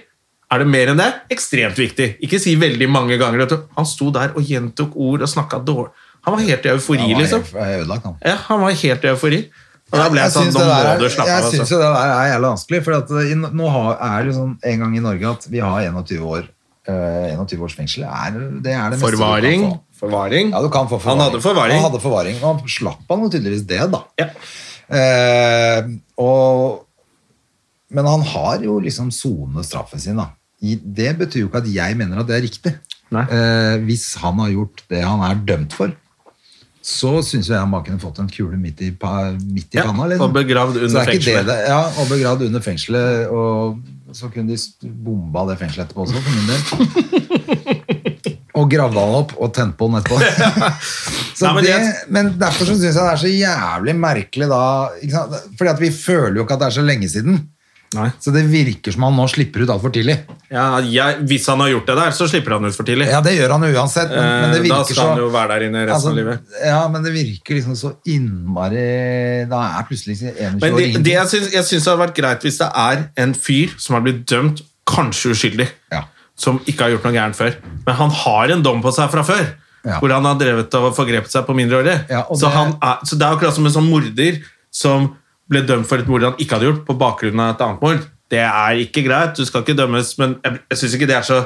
Er det mer enn det? Ekstremt viktig. Ikke si 'veldig mange ganger'. vet du. Han sto der og gjentok ord og snakka dårlig. Han var helt i eufori,
Han var
liksom.
helt- ødelagt, han.
Ja, han var helt i eufori. Og da ble jeg,
Jeg
sånn,
syns
nå
det der
må
er-
du slappe
jeg
av.
syns
Altså.
jo det der er jævlig vanskelig. For at i, nå har, er det jo sånn en gang i Norge at vi har 21 år. eh, 21 års fengsel er, det er det meste du kan
Forvaring.
få.
Forvaring.
Ja, du kan få forvaring.
Han hadde forvaring.
Han hadde forvaring, og han slapp han jo tydeligvis det, da.
Ja.
Eh, og, men han har jo liksom sonet straffen sin, da. I, det betyr jo ikke at jeg mener at det er riktig.
Nei.
Eh, hvis han har gjort det han er dømt for, så syns jo jeg han bare kunne fått en kule midt i, pa, midt i
Ja,
panna. liksom.
og begravd under
Så det er ikke
fengselet.
Det det, ja, og begravd under fengselet. Og så kunne de s- bomba det fengselet etterpå også, for min del. Og gravde han opp og tente på den etterpå. Så
Nei, men
men, det,
det-
men derfor så syns jeg det er så jævlig merkelig da ikke sant? Fordi at vi føler jo ikke at det er så lenge siden.
Nei.
Så det virker som han nå slipper ut altfor tidlig.
Ja, jeg, hvis han har gjort det der, så slipper han ut for tidlig.
Ja, det gjør han jo uansett, men, men det
Eh, da
virker
skal
så
han jo være der inne resten
altså,
av livet.
Ja, men det virker liksom så innmari Da er plutselig 21
Men
år
det, det
ingenting.
jeg, syns, jeg syns det hadde vært greit hvis det er en fyr som har blitt dømt, kanskje uskyldig,
Ja.
som ikke har gjort noe gærent før. Men han har en dom på seg fra før,
Ja.
hvor han har drevet og forgrepet seg på mindreårige.
Ja, og
så,
det-
han er, så det er akkurat som en sånn morder som ble dømt for et mord han ikke hadde gjort, på bakgrunn av et annet mord. Det er ikke greit, du skal ikke dømmes, men jeg, jeg syns ikke det er så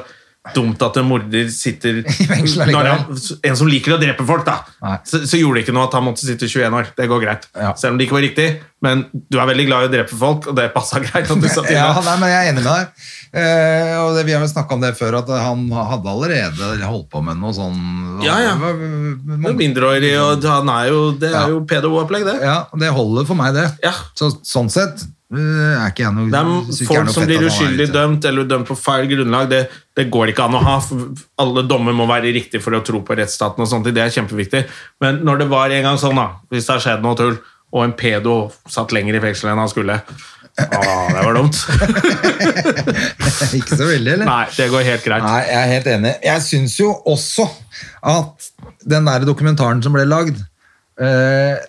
dumt at en morder sitter
fengsel
Når
allikevel.
han, En som liker å drepe folk, da.
Nei.
Så, så gjorde det ikke noe at han måtte sitte 21 år. Det går greit.
Ja.
Selv om det ikke var riktig. Men du er veldig glad i å drepe folk, og det passa greit. at du satt
Ja,
inne.
nei, men jeg er enig med deg. Eh, og det, vi har jo snakka om det før, at han hadde allerede holdt på med noe sånn
Ja, ja.
Det var, eh,
Men
mange-
Mindreårig, og han er jo, det
Ja.
er jo pedo-opplegg, det.
ja, og det holder for meg, det.
Ja.
Så, sånn sett eh, er ikke jeg noe
Det er
synes ikke jeg er
folk
noe
som
fett
blir
at han er
uskyldig
ute.
dømt eller dømt på feil grunnlag. Det, det går ikke an å ha. for Alle dommer må være riktige for å tro på rettsstaten. og sånt, Det er kjempeviktig. Men når det var en gang sånn, da, hvis det har skjedd noe tull, og en pedo satt lenger i fengsel enn han skulle Å, det var dumt.
ikke så veldig, eller?
Nei, det går helt greit.
Nei, jeg er helt enig. Jeg syns jo også at den der dokumentaren som ble lagd, eh,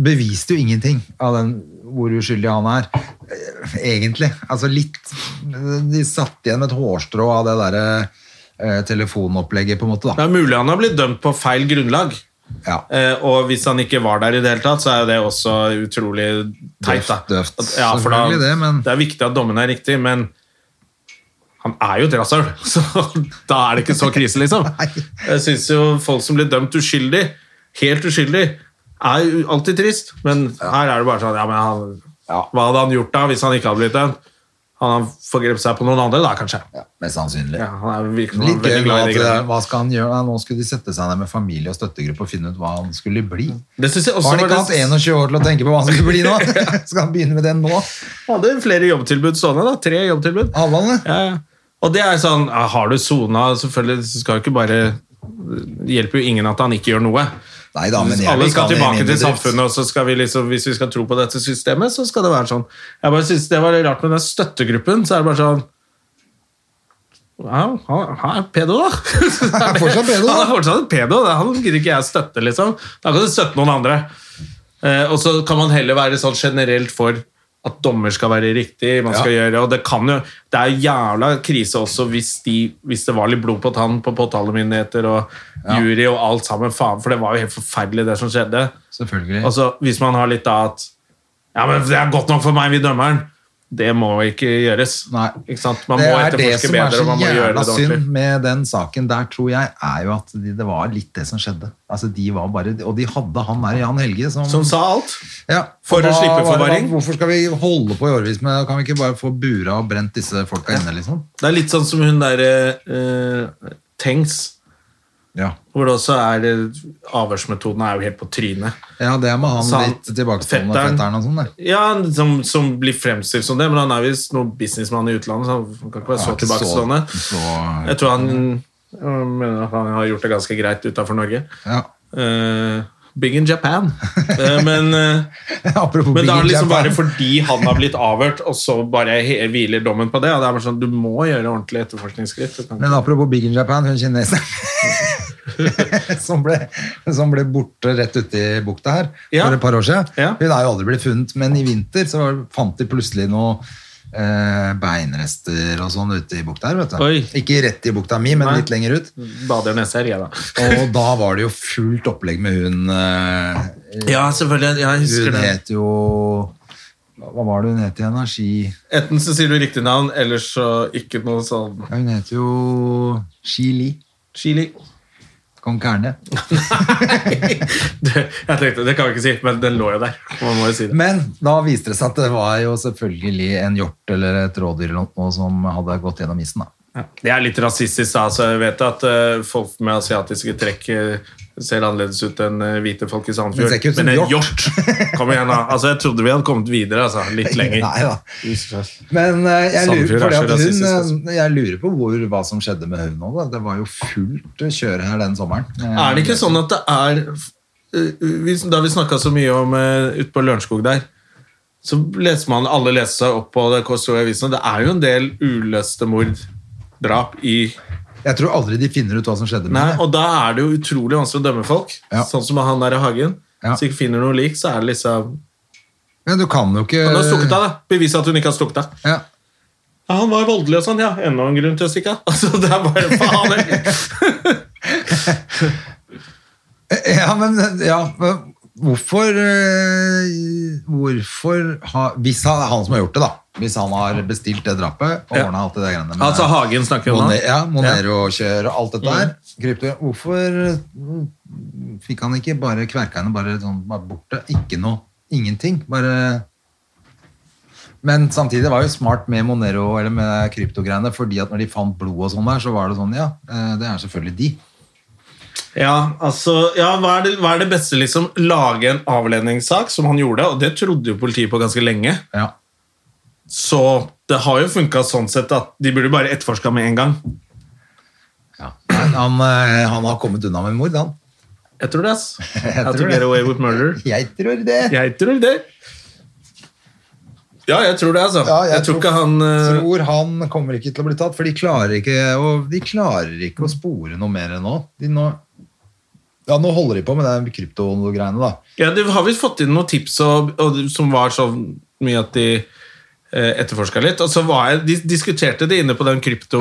beviste jo ingenting av den hvor uskyldig han er, eh, egentlig. Altså litt De satt igjen med et hårstrå av det derre eh, telefonopplegget, på en måte,
Det
da.
er mulig han har blitt dømt på feil grunnlag.
Ja.
Eh, og hvis han ikke var der i det hele tatt, så er jo det også utrolig teit. da.
Døvt, døvt.
At- Ja, for da,
Selvfølgelig
det,
det, men-
er viktig at dommen er riktig, men han er jo et rasshøl, så da er det ikke så krise, liksom. Jeg syns jo folk som blir dømt uskyldig, helt uskyldig, er jo alltid trist, men her er det bare sånn Ja, men han
Ja.
Hva hadde han gjort da hvis han ikke hadde blitt det? Han hadde forgrepet seg på noen andre, da, kanskje.
Ja, mest sannsynlig.
Ja, han er virkelig
Litt
veldig
gøy
glad i
med
de
at, eh,
greiene.
hva skal han gjøre? Nå skulle de sette seg ned med familie og støttegruppe og finne ut hva han skulle bli.
Det synes jeg også
Har
var
han ikke hatt
det-
21 år til å tenke på hva han skulle bli nå? Skal han begynne med det nå?
hadde flere jobbtilbud stående, da. Tre jobbtilbud.
Alle, eller?
Ja, ja. Og det er sånn, ja, har du sona, selvfølgelig så skal jo ikke bare det hjelper jo ingen at han ikke gjør noe.
Nei da, men jeg
Alle
vil
skal
ikke ha det i
tilbake
min
til
bedrift.
samfunnet, og så skal vi liksom, hvis vi skal tro på dette systemet, så skal det være sånn. Jeg bare synes det var litt rart med den støttegruppen, så er det bare sånn ja, han han er pedo, da.
Han er fortsatt pedo, da.
Han er fortsatt en pedo. det- Han gidder ikke jeg støtte, liksom. Da kan du støtte noen andre. Eh, og så kan man heller være sånn generelt for at dommer skal være riktig. man skal gjøre, og Det kan jo, det er jævla krise også hvis, de, hvis det var litt blod på tann på påtalemyndigheter og jury og alt sammen. faen, For det var jo helt forferdelig, det som skjedde.
Selvfølgelig.
Altså, hvis man har litt da at Ja, men det er godt nok for meg, vi dømmeren. Det må ikke gjøres.
Nei.
Ikke sant? Man
det
må
er det
etterforske
som er
bedre, og
så
man må gjøre
jævla
det ordentlig.
synd med den saken der, tror jeg, er jo at de, det var litt det som skjedde. Altså, de var bare, og de hadde han der, Jan Helge, som,
Som sa alt.
ja,
for
og
å
da
slippe
var det
forvaring.
bare, Hvorfor skal vi holde på i årevis med Kan vi ikke bare få bura og brent disse folka inne, liksom?
Det er litt sånn som hun der eh, Tengs,
Ja.
hvor det også er eh, Avhørsmetoden er jo helt på trynet.
ja, det er med han
Så han-
litt tilbakestående
fetteren-
fetteren og sånn, det.
Ja, som, som blir fremstilt som det, men han er visst noen businessmann i utlandet, så han kan ikke være
Han
så
er ikke
tilbakestående.
så- eh,
Jeg tror han jeg mener at han har gjort det ganske greit utafor Norge.
Ja.
Eh, big in Japan. Eh, men eh,
Apropos
Men
Big
da er det liksom
Japan.
bare fordi han har blitt avhørt, og så bare he- hviler dommen på det. Og det er bare sånn, Du må gjøre ordentlige etterforskningsskritt. Du kan-
Men apropos Big in Japan, hun kineseren som, ble, som ble borte rett ute i bukta her
Ja.
for et par år siden.
Ja.
Hun er jo aldri blitt funnet, men i vinter så var- fant de plutselig noe eh, beinrester og sånn ute i bukta her, vet du.
Oi.
Ikke rett i bukta mi, men
Nei.
litt lenger ut.
Bader neser, jeg, da.
Og da var det jo fullt opplegg med hun eh,
Ja, selvfølgelig. Jeg husker
Hun
det.
het jo Hva var det hun het igjen? da? Ski...
Enten så sier du riktig navn, eller så ikke noe sånn
Ja, hun het jo Ski Li.
chili.
Kong Kerne.
Det, jeg tenkte, det kan vi ikke si, men den lå jo der. Man må jo si det.
Men da viste det seg at det var jo selvfølgelig en hjort eller et rådyr eller noe som hadde gått gjennom isen. da.
Ja. Det er litt rasistisk, da. Så jeg vet at eh, folk med asiatiske trekk eh, ser annerledes ut enn eh, hvite folk i
Men
Sandefjord.
det ser ikke ut som
en
hjort.
hjort! Kom igjen, da. Altså, jeg trodde vi hadde kommet videre. Altså, litt lenger.
Nei da. Men eh, jeg lurer,
Sandefjord er
fordi
så
at hun,
rasistisk, altså.
eh, jeg lurer på hvor, hva som skjedde med hun nå. Da. Det var jo fullt kjør her den sommeren.
Er det ikke sånn at det er eh, vi- Da vi snakka så mye om eh, ute på Lørenskog der, så leser man alle leser seg opp på det KSO i avisene. Det er jo en del uløste mord, drap, i
Jeg tror aldri de finner ut hva som skjedde med
Nei,
henne.
Og da er det jo utrolig vanskelig å dømme folk.
Ja.
Sånn som han der i hagen.
Ja.
Hvis du ikke finner noe lik, så er det liksom
Men du kan jo ikke
Han har stukket av, da. Bevis at hun ikke har stukket av.
Ja.
Ja, han var voldelig og sånn, ja. Enda en grunn til å stikke av. Altså, det er bare faen. jeg.
Ja, men, ja, men hvorfor, eh, hvorfor ha, Hvis han er han som har gjort det, da. Hvis han har bestilt det drapet og
Ja.
ordna alt det der greiene med
Altså, Hagen snakker vi om
Mone-
nå.
ja, Monero-kjør og alt dette der. Krypto. Hvorfor mm, fikk han ikke bare kverka henne bare, sånn, bare borte? Ikke noe. Ingenting. Bare Men samtidig var det jo smart med Monero eller med kryptogreiene, fordi at når de fant blod og sånn der, så var det sånn Ja, eh, det er selvfølgelig de.
Ja, altså, ja hva, er det, hva er det beste? liksom Lage en avledningssak, som han gjorde, og det trodde jo politiet på ganske lenge.
Ja.
Så det har jo funka sånn sett at de burde bare etterforska med en gang.
Men Han, eh, han har kommet unna med mord, han.
Jeg tror det, ass. How
tror
to
det.
get away with murder.
Jeg tror det.
Jeg tror det. Ja, jeg tror det, altså.
Ja,
jeg, tror ikke han eh,
tror han kommer ikke til å bli tatt, for de klarer ikke, og de klarer ikke å spore noe mer nå. De nå ja, nå holder de på med de krypto-greiene, da.
Ja, det har vi fått inn noen tips og, og, som var så mye at de eh, etterforska litt. Og så var jeg, de diskuterte det inne på den krypto,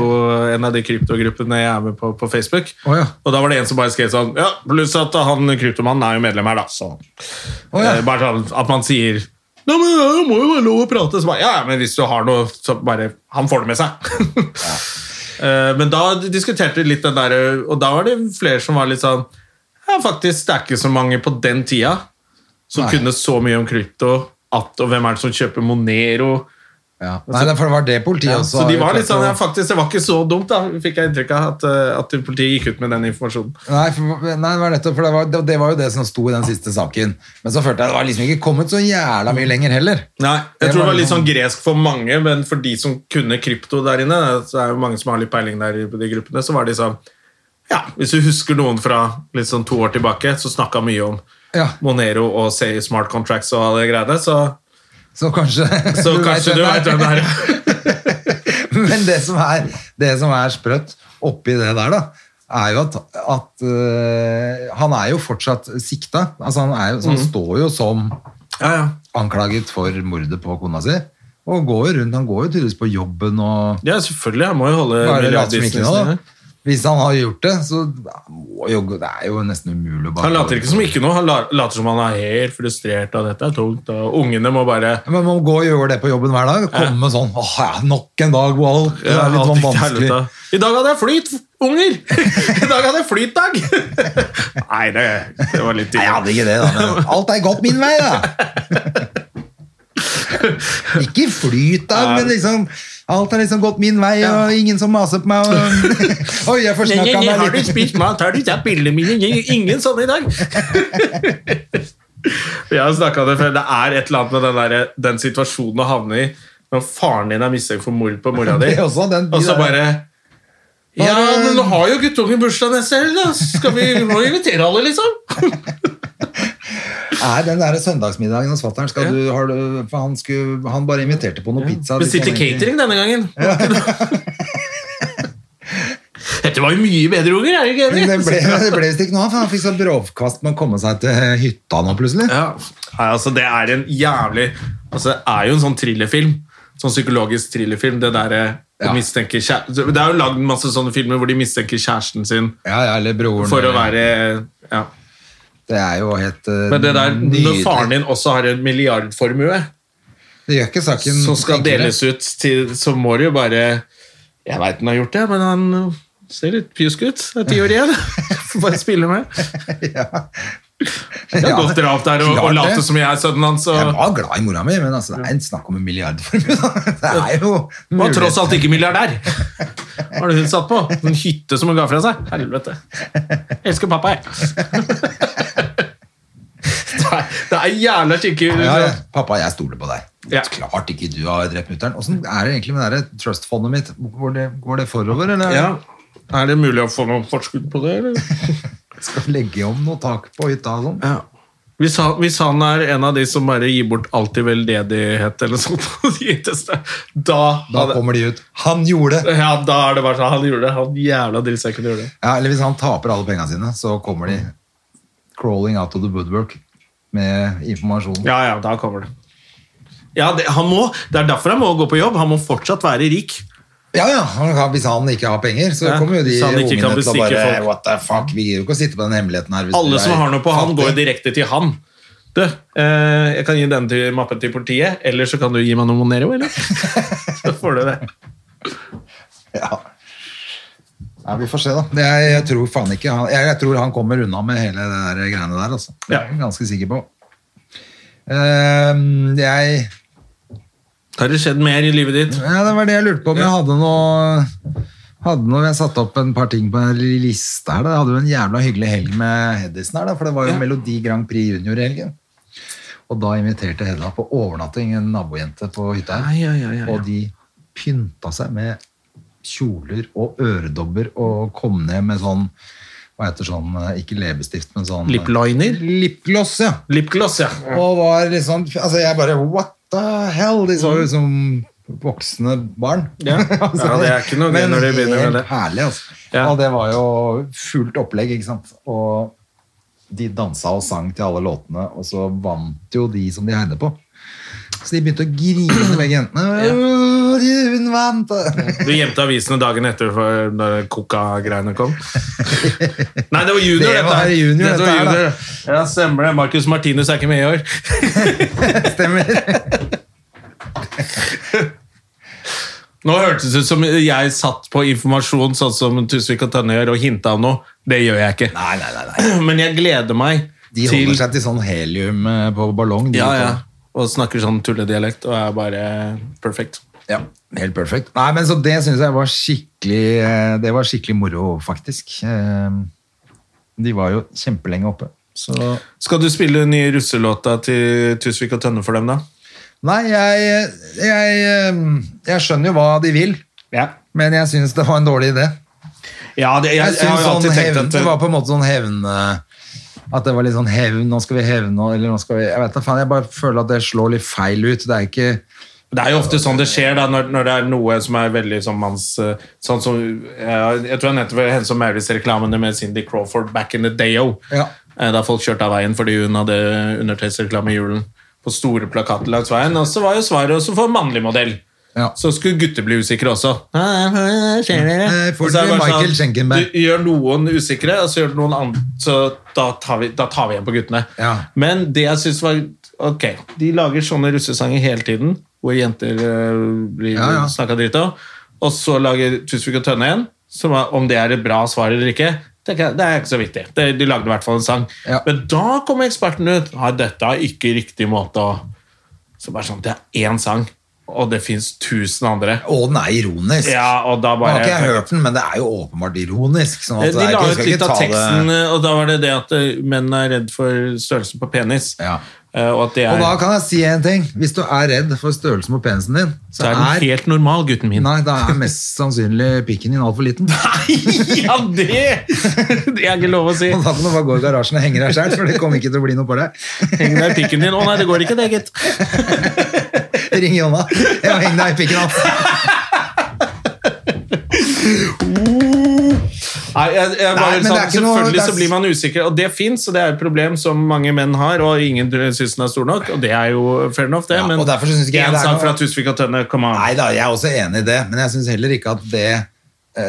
en av de kryptogruppene jeg er med på på Facebook.
Å ja.
Og da var det en som bare skrev sånn Ja, pluss at han kryptomannen er jo medlem her, da. Så
Å ja.
eh, bare sånn at man sier ja, men Det må jo være lov å prate. Så bare, ja, ja, men hvis du har noe, så bare Han får det med seg. Eh, Men da diskuterte vi litt den der eh, Og da var det flere som var litt sånn Ja, faktisk, det er ikke så mange på den tida som
Nei.
kunne så mye om krypto at, og hvem er det som kjøper Monero?
Ja. Nei, det- for det var det politiet
Altså- Ja,
også
så de
har
var
klart
litt sånn,
å-
ja, faktisk, Det var ikke så dumt, da, fikk jeg inntrykk av, at, eh, at politiet gikk ut med den informasjonen.
Nei, for, nei, det var nettopp, for det var, det, det var jo det som sto i den siste saken. Men så følte jeg det var liksom ikke kommet så jævla mye lenger heller.
Nei,
Det
Jeg tror det
var
var litt
liksom-
sånn gresk for mange, men for de som kunne krypto der inne, så er jo mange som har litt peiling der i de gruppene, så var det sånn ja, Hvis du husker noen fra litt sånn to år tilbake, så snakka mye om
Ja.
Monero og say, smart contracts og alle de greiene, så,
Så kanskje
så kanskje du
vet
vet hvem det er.
Men det som er, det som er sprøtt oppi det der, da, er jo at, at øh, han er jo fortsatt sikta. Altså, han, er jo, så han
Mhm.
står jo som
Ja, ja.
anklaget for mordet på kona si. Og går jo rundt, han går jo tydeligvis på jobben og
ja, selvfølgelig. Jeg må jo holde
bare later som ikke
milliardbusinessen
noe.
inne.
da. Hvis han har gjort det, så må jo, det er jo nesten umulig å bare
Han later ikke som ikke noe, han la- later som han er helt frustrert av dette. er tungt, og Ungene må bare
Ja, Men man går og gjør det på jobben hver dag. Komme med sånn åh ja, nok en dag hvor alt det er
Ja,
litt
alt
sånn
gikk til
vanskelig.
helvete. I dag hadde jeg flyt, unger! I dag hadde jeg flytdag! Nei, det, det var litt
Nei, jeg hadde
tidlig.
ikke det, da. Men alt er gått min vei, da. ikke flyt, da, men liksom Alt har liksom gått min vei, og ingen som maser på meg. Og... Oi, jeg forsnakka meg
Har du
litt.
spist mat? Har du tatt pillene mine? Ingen sånne i dag! Jeg har snakket om det før. Det er et eller annet med den, der, den situasjonen å havne i når faren din er mistenkt for mord på mora di,
Det er også den- de
og så
der-
bare ja, men nå har jo guttungen bursdag neste helg, da. Skal vi må vi invitere alle, liksom?
Nei, den der søndagsmiddagen hos fatter'n skal
Ja.
du, har du For han, skulle, han bare inviterte på noe pizza.
Bestilte
liksom, egentlig.
catering denne gangen. Dette var jo mye bedre, unger. Er du ikke
Men
enig?
det ble, det ble visst ikke noe av, for han fikk så bråkvast med å komme seg til hytta nå, plutselig.
Ja. Nei, altså, det er en jævlig altså, Det er jo en sånn thrillerfilm. Sånn psykologisk thrillerfilm. Det derre
Ja.
mistenker kjæ- Det er jo lagd masse sånne filmer hvor de mistenker kjæresten sin
Ja, ja, eller broren.
for å
eller-
være ja.
Det er jo helt uh,
Men det der, når
nydelig.
faren din også har en milliardformue
Det gjør ikke saken
som skal
enklere.
deles ut til Så må det jo bare Jeg veit han har gjort det, men han ser litt pjusk ut. Det er ti år igjen. Får bare spille med. Det er
Ja,
godt dere er opp der og,
klart
og
det.
late som jeg er sønnen hans.
Jeg
Og
var glad i mora mi, men altså, det er en snakk om en milliardformue. da. Det er jo
var tross
mulighet.
alt ikke milliardær. Hva var det hun satt på? En hytte som hun ga fra seg? Helvete. Jeg elsker pappa, jeg. Det er, det er jævla skikkelig
ja, ja. Pappa, jeg stoler på deg.
Ja.
Klart ikke du har drept mutter'n. Åssen er det egentlig med det der trustfondet mitt? Går det, går det forover, eller
Ja. Er det mulig å få noe forskudd på det, eller?
skal vi legge om noe tak på hytta og sånn?
Ja. Hvis han, hvis han er en av de som bare gir bort alt i veldedighet eller noe sånt, på de ytterste, da,
Da kommer de ut. Han gjorde det!
ja, da er det bare sånn Han gjorde det. Han jævla drittsekken gjorde det.
Ja, eller hvis han taper alle pengene sine, så kommer de crawling out of the woodwork med informasjon.
Ja, ja, da kommer det. Ja, det, han må, det er derfor han må gå på jobb. Han må fortsatt være rik.
Ja, ja, han kan- Hvis han ikke har penger, så
Ja,
kommer jo de
hvis han ikke
ungene
kan
til å
bestikke
bare
folk.
What the fuck, vi gidder jo ikke å sitte på den hemmeligheten her. hvis du
Alle som
er
har noe på han,
fattig.
går direkte til han. Du, eh, jeg kan gi denne til, mappen til politiet, eller så kan du gi meg noe Monero, eller? Så får du det.
Ja. Nei, vi får se, da. Det- Jeg, jeg tror faen ikke han, jeg, jeg tror han kommer unna med hele det der greiene der, altså. Det er jeg ganske sikker på. Ehm, jeg
Har det skjedd mer i livet ditt?
ja, Det var det jeg lurte på om jeg hadde noe hadde noe, Jeg satte opp en par ting på en liste her. Da. Jeg hadde jo en jævla hyggelig helg med Hedisen her, da, for det var jo Melodi Grand Prix Junior i helgen. Og da inviterte Hedda på overnatting en nabojente på hytta her.
Ja, ja, ja, ja, ja.
Og de pynta seg med kjoler og øredobber og kom ned med sånn hva heter sånn, eh, ikke leppestift, men sånn
Lip liner?
Lipgloss, ja.
Lipgloss, ja.
Og var liksom Altså, jeg bare What the hell? De så ut som voksne barn.
Mm. Ja. Ja, det er ikke noe gøy
Men
når de begynner med
helt
det.
herlig, altså.
Ja.
Og det var jo fullt opplegg, ikke sant. Og de dansa og sang til alle låtene, og så vant jo de som de heide på. Så de begynte å grine, begge jentene. «Åh, Hun vant!
Du gjemte avisene dagen etter for da Coca-greiene kom? Nei, det var junior,
Det var
her.
junior,
Dette
dette
var
her, da.
junior. Ja, stemmer det. Marcus Martinus er ikke med i år.
Stemmer.
Nå hørtes det ut som jeg satt på informasjon sånn som Tusvik og Tønne gjør, og hinta om noe. Det gjør jeg ikke.
Nei, nei, nei. nei.
Men jeg gleder meg
De holder
til
seg til sånn helium eh, på ballong. de
ja,
gutta.
ja. og snakker sånn tulledialekt og er bare perfect.
Ja, helt perfekt. Nei, men så det synes jeg var skikkelig eh, Det var skikkelig moro, faktisk. Eh, De var jo kjempelenge oppe. Så
Skal du spille den nye russelåta til Tusvik og Tønne for dem, da?
Nei, jeg, jeg, eh, jeg skjønner jo hva de vil,
Ja.
men jeg syns det var en dårlig idé.
Ja, det, jeg,
Jeg
jeg, har
synes
jo alltid
sånn
tenkt
hevn,
at
Det var på en måte sånn hevn eh, At det var litt sånn hevn, nå skal vi hevne eller nå skal vi, Jeg vet da faen, jeg bare føler at det slår litt feil ut. Det er ikke
Det er jo ofte sånn det skjer da, når, når det er noe som er veldig sånn manns eh, Sånn som Jeg, jeg tror jeg nevnte vel Hennes og Maurits-reklamene med Cindy Crawford back in the day oh.
Ja.
Eh, Da folk kjørte av veien fordi hun hadde undertøysreklame i julen på store plakater langs veien. Og så var jo svaret også for mannlig modell.
Ja.
Så skulle gutter bli usikre også. Skjer dere?
Eh, får
Og så er det
bli
bare sånn,
Michael Schenkenberg.
Du gjør noen usikre, og så gjør du noen andre, så da tar vi, da tar vi igjen på guttene.
Ja.
Men det jeg synes var Ok, de lager sånne russesanger hele tiden, hvor jenter eh, blir
Ja, ja.
snakka dritt av. Og så lager Tusvik og Tønne en, som er, om det er et bra svar eller ikke. tenker jeg, Det er ikke så viktig. De, de lagde i hvert fall en sang.
Ja.
Men da kommer eksperten ut. Nei, dette er ikke riktig måte å Så bare sånn, Det er én sang, og det fins tusen andre.
Å, den er ironisk.
Ja, og da
Nå
bare
har ikke jeg hørt den, men det er jo åpenbart ironisk. Sånn
de
at det er
la
ikke,
ut
skal
litt
ikke
av
ta
teksten,
det.
og da var det det at eh, menn er redd for størrelsen på penis.
Ja.
Eh, Og at det er,
Og da kan jeg si en ting. Hvis du er redd for størrelsen på penisen din,
så
så
er den
er
helt normal, gutten min.
Nei, da er mest sannsynlig pikken din altfor liten.
ja, det! Det er ikke lov å si.
Og da kan du bare gå i garasjen og henge deg sjøl, for det kommer ikke til å bli noe på deg.
Heng deg i pikken din. Å nei, det går ikke, det, gitt.
Ring Jonna. Ja, heng deg i pikken hans.
Nei, jeg, jeg bare,
Nei, men det
sånn,
er ikke noe-
selvfølgelig
det er-
så blir man usikker, og det fins, og det er et problem som mange menn har, og ingen syns den er stor nok, og det er jo fair enough, det,
Ja,
men
og derfor synes ikke jeg
en
det er
sang
noe-
fra Tusvik og Tønne, come on.
Nei da, jeg er også enig i det, men jeg syns heller ikke at det eh,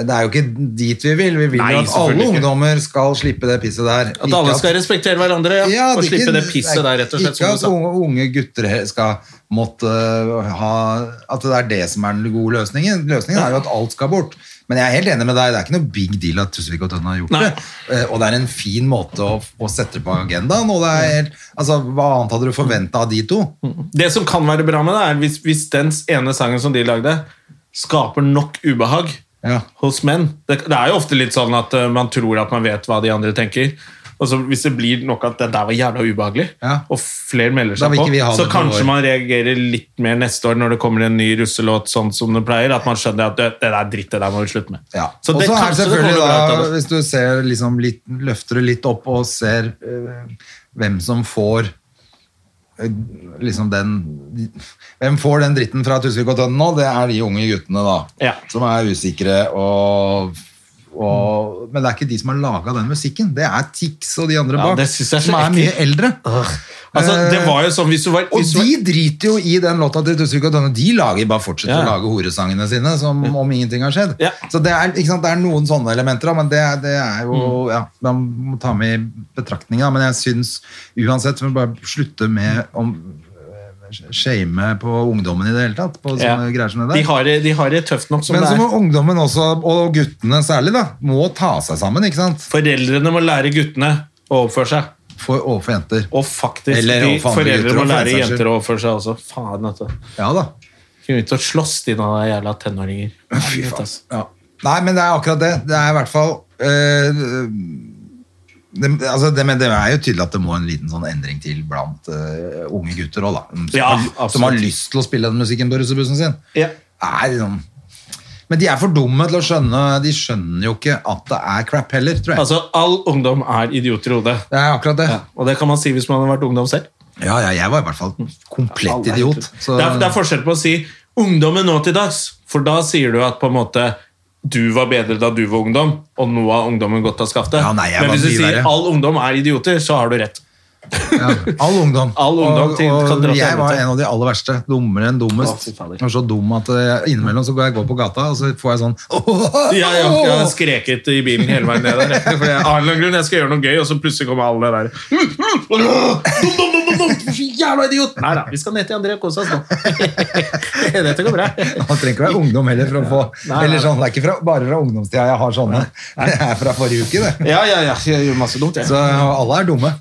Det er jo ikke dit vi vil. Vi vil
Nei,
jo at alle
selvfølgelig ikke.
ungdommer skal slippe det pisset der.
At alle skal respektere hverandre ja,
Ja,
og
det er
slippe
ikke-
det pisset der, rett og slett.
Ikke
Som du
at
sa.
unge, unge gutter he- skal måtte øh, ha At det er det som er den gode løsningen. Løsningen er jo at alt skal bort. Men jeg er helt enig med deg, det er ikke noe big deal at Tusvik og Tønne har gjort
Nei.
det. Eh, Og det er en fin måte å, å sette det på agendaen. Og det er helt, altså, hva annet hadde du forventa av de to?
Mm. Det som kan være bra med det, er hvis, hvis den ene sangen som de lagde, skaper nok ubehag
Ja.
hos menn. Det, det er jo ofte litt sånn at eh, man tror at man vet hva de andre tenker. Og så Hvis det blir nok at det der var jævla ubehagelig,
Ja.
og flere melder
Da
seg
vil
på,
ikke vi ha
så
det på
kanskje
vår.
man reagerer litt mer neste år når det kommer en ny russelåt sånn som det pleier. At man skjønner at det, det der dritt, det der må vi slutte med.
Ja.
Så
og
det
så er det
kanskje det kommer
selvfølgelig
noe bra ut
da,
av det.
hvis du ser liksom litt, løfter det litt opp og ser eh, hvem som får eh, liksom den Hvem får den dritten fra Tusvik og Tønnen nå? Det er de unge guttene, da.
Ja.
Som er usikre og, og Men det er ikke de som har laga den musikken. Det er Tix og de andre
Ja,
bak,
det synes jeg er så
som er mye eldre.
Altså, det var jo sånn, hvis du var,
eh, Og
hvis du var
de driter jo i den låta til Tusvik og Tønne. De lager, bare fortsetter
Ja.
å lage horesangene sine som om ingenting har skjedd.
Ja.
Så det er, ikke sant, det er noen sånne elementer, da, men det, det er jo
Mm.
ja, Man må ta med i betraktninga. Men jeg syns uansett vi må bare slutte med om eh, shame på ungdommen i det hele tatt. På
Ja.
sånne greier som det
de
der.
har, det- de har det tøft nok som
men
det
så
er.
må ungdommen også, og guttene særlig, da, må ta seg sammen ikke sant?
Foreldrene må lære guttene å oppføre seg.
For, overfor jenter.
Og faktisk,
Eller
de
overfor andre
foreldre
gutter,
må
og for
lære
den saks
jenter
skyld.
å oppføre seg også. Faen, vet du.
Ja da.
Kunne ut og slåss, de da, de jævla tenåringer. altså. Helvete, ass.
Ja. Nei, men det er akkurat det. Det er i hvert fall øh, det, altså det, men det er jo tydelig at det må en liten sånn endring til blant øh, unge gutter òg, da. Som,
Ja,
har,
absolutt.
som har lyst til å spille den musikken på russebussen sin.
Ja.
Er liksom, men de er for dumme til å skjønne De skjønner jo ikke at det er crap heller, tror jeg.
Altså, all ungdom er idioter i hodet.
det er akkurat det.
Og det kan man si hvis man har vært ungdom selv.
Ja, ja, jeg var i hvert fall komplett idiot. Så,
Det, er, det er forskjell på å si 'ungdommen nå til dags', for da sier du at på en måte du var bedre da du var ungdom, og nå har ungdommen gått av skaftet.
Ja, nei, jeg
Men
var
hvis du
mye
sier
verre.
'all ungdom er idioter', så har du rett.
ja, all ungdom.
All ungdom
og,
til- kan
og
dra til
jeg var
helvete.
en av de aller verste. Dummere enn dummest.
Å, fy fader.
Jeg var så dum at eh, innimellom så går jeg går på gata, og så får jeg sånn
Ja, ja, jeg har skreket i bilen hele veien Mm, ned der. For jeg, av en eller annen grunn, jeg skal gjøre noe gøy, og så plutselig kommer alle der. nå, jævla idiot! Nei da, vi skal ned til André og kose oss nå. Dette går bra.
Man trenger ikke være ungdom heller for å få
Nei, nei,
eller sånn, Det er ikke fra, bare fra ungdomstida jeg har sånne. Det er fra forrige uke, det.
Ja, ja, ja. Jeg gjør masse dumt, jeg.
Så alle er dumme.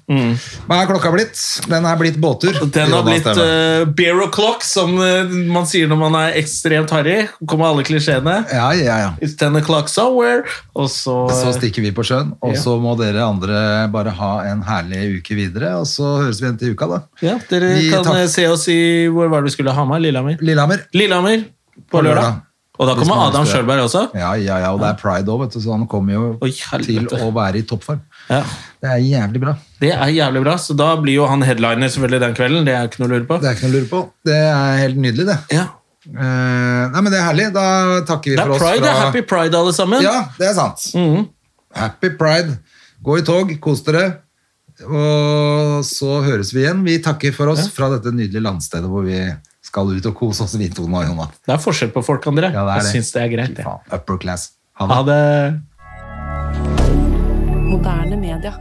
Hva er klokka blitt? Den er blitt båttur.
Den har
Jonas
blitt
Stemme.
eh, beer o'clock, som eh, man sier når man er ekstremt harry. Kommer alle klisjeene.
Ja, ja, ja.
It's ten o'clock somewhere. Og så,
Så stikker vi på sjøen, og
Ja.
så må dere andre bare ha en herlig uke videre. Og så høres vi igjen til uka, da.
ja, Dere
Vi
kan
tar-
eh, se oss i Hvor var det vi skulle? Hamar? Lillehammer?
Lillehammer.
Lillehammer på
På lørdag.
lørdag. Og da
Hvis
kommer
man
Adam
ønsker det.
Sjølberg også.
Ja, ja, ja, og det er pride òg, vet du, så han kommer jo
Oi, helvete.
til å være i toppform.
Ja.
Det er jævlig bra.
Det er jævlig bra. Så da blir jo han headliner selvfølgelig den kvelden. Det er ikke noe å lure på.
Det er ikke noe å lure på. Det er helt nydelig, det.
Ja.
Eh, nei, men det er herlig. Da takker vi
Det er
for oss
pride. Det er
fra
happy pride, alle sammen.
Ja, det er sant.
Mhm.
Happy pride. Gå i tog, kos dere. Og så høres vi igjen. Vi takker for oss fra dette nydelige landstedet hvor vi skal ut og kose oss, vi to nå, Jonas.
Det er forskjell på folk, André.
Ja, det er det.
Jeg syns det er greit.
Fy
det.
faen. Upper class. Ha det.
Ha det.
Moderne media.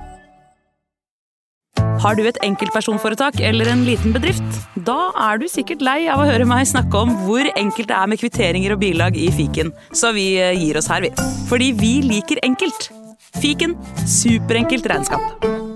Har du et enkeltpersonforetak eller en liten bedrift? Da er du sikkert lei av å høre meg snakke om hvor enkelt det er med kvitteringer og bilag i fiken, så vi eh, gir oss her, vi. Fordi vi liker enkelt. Fiken superenkelt regnskap.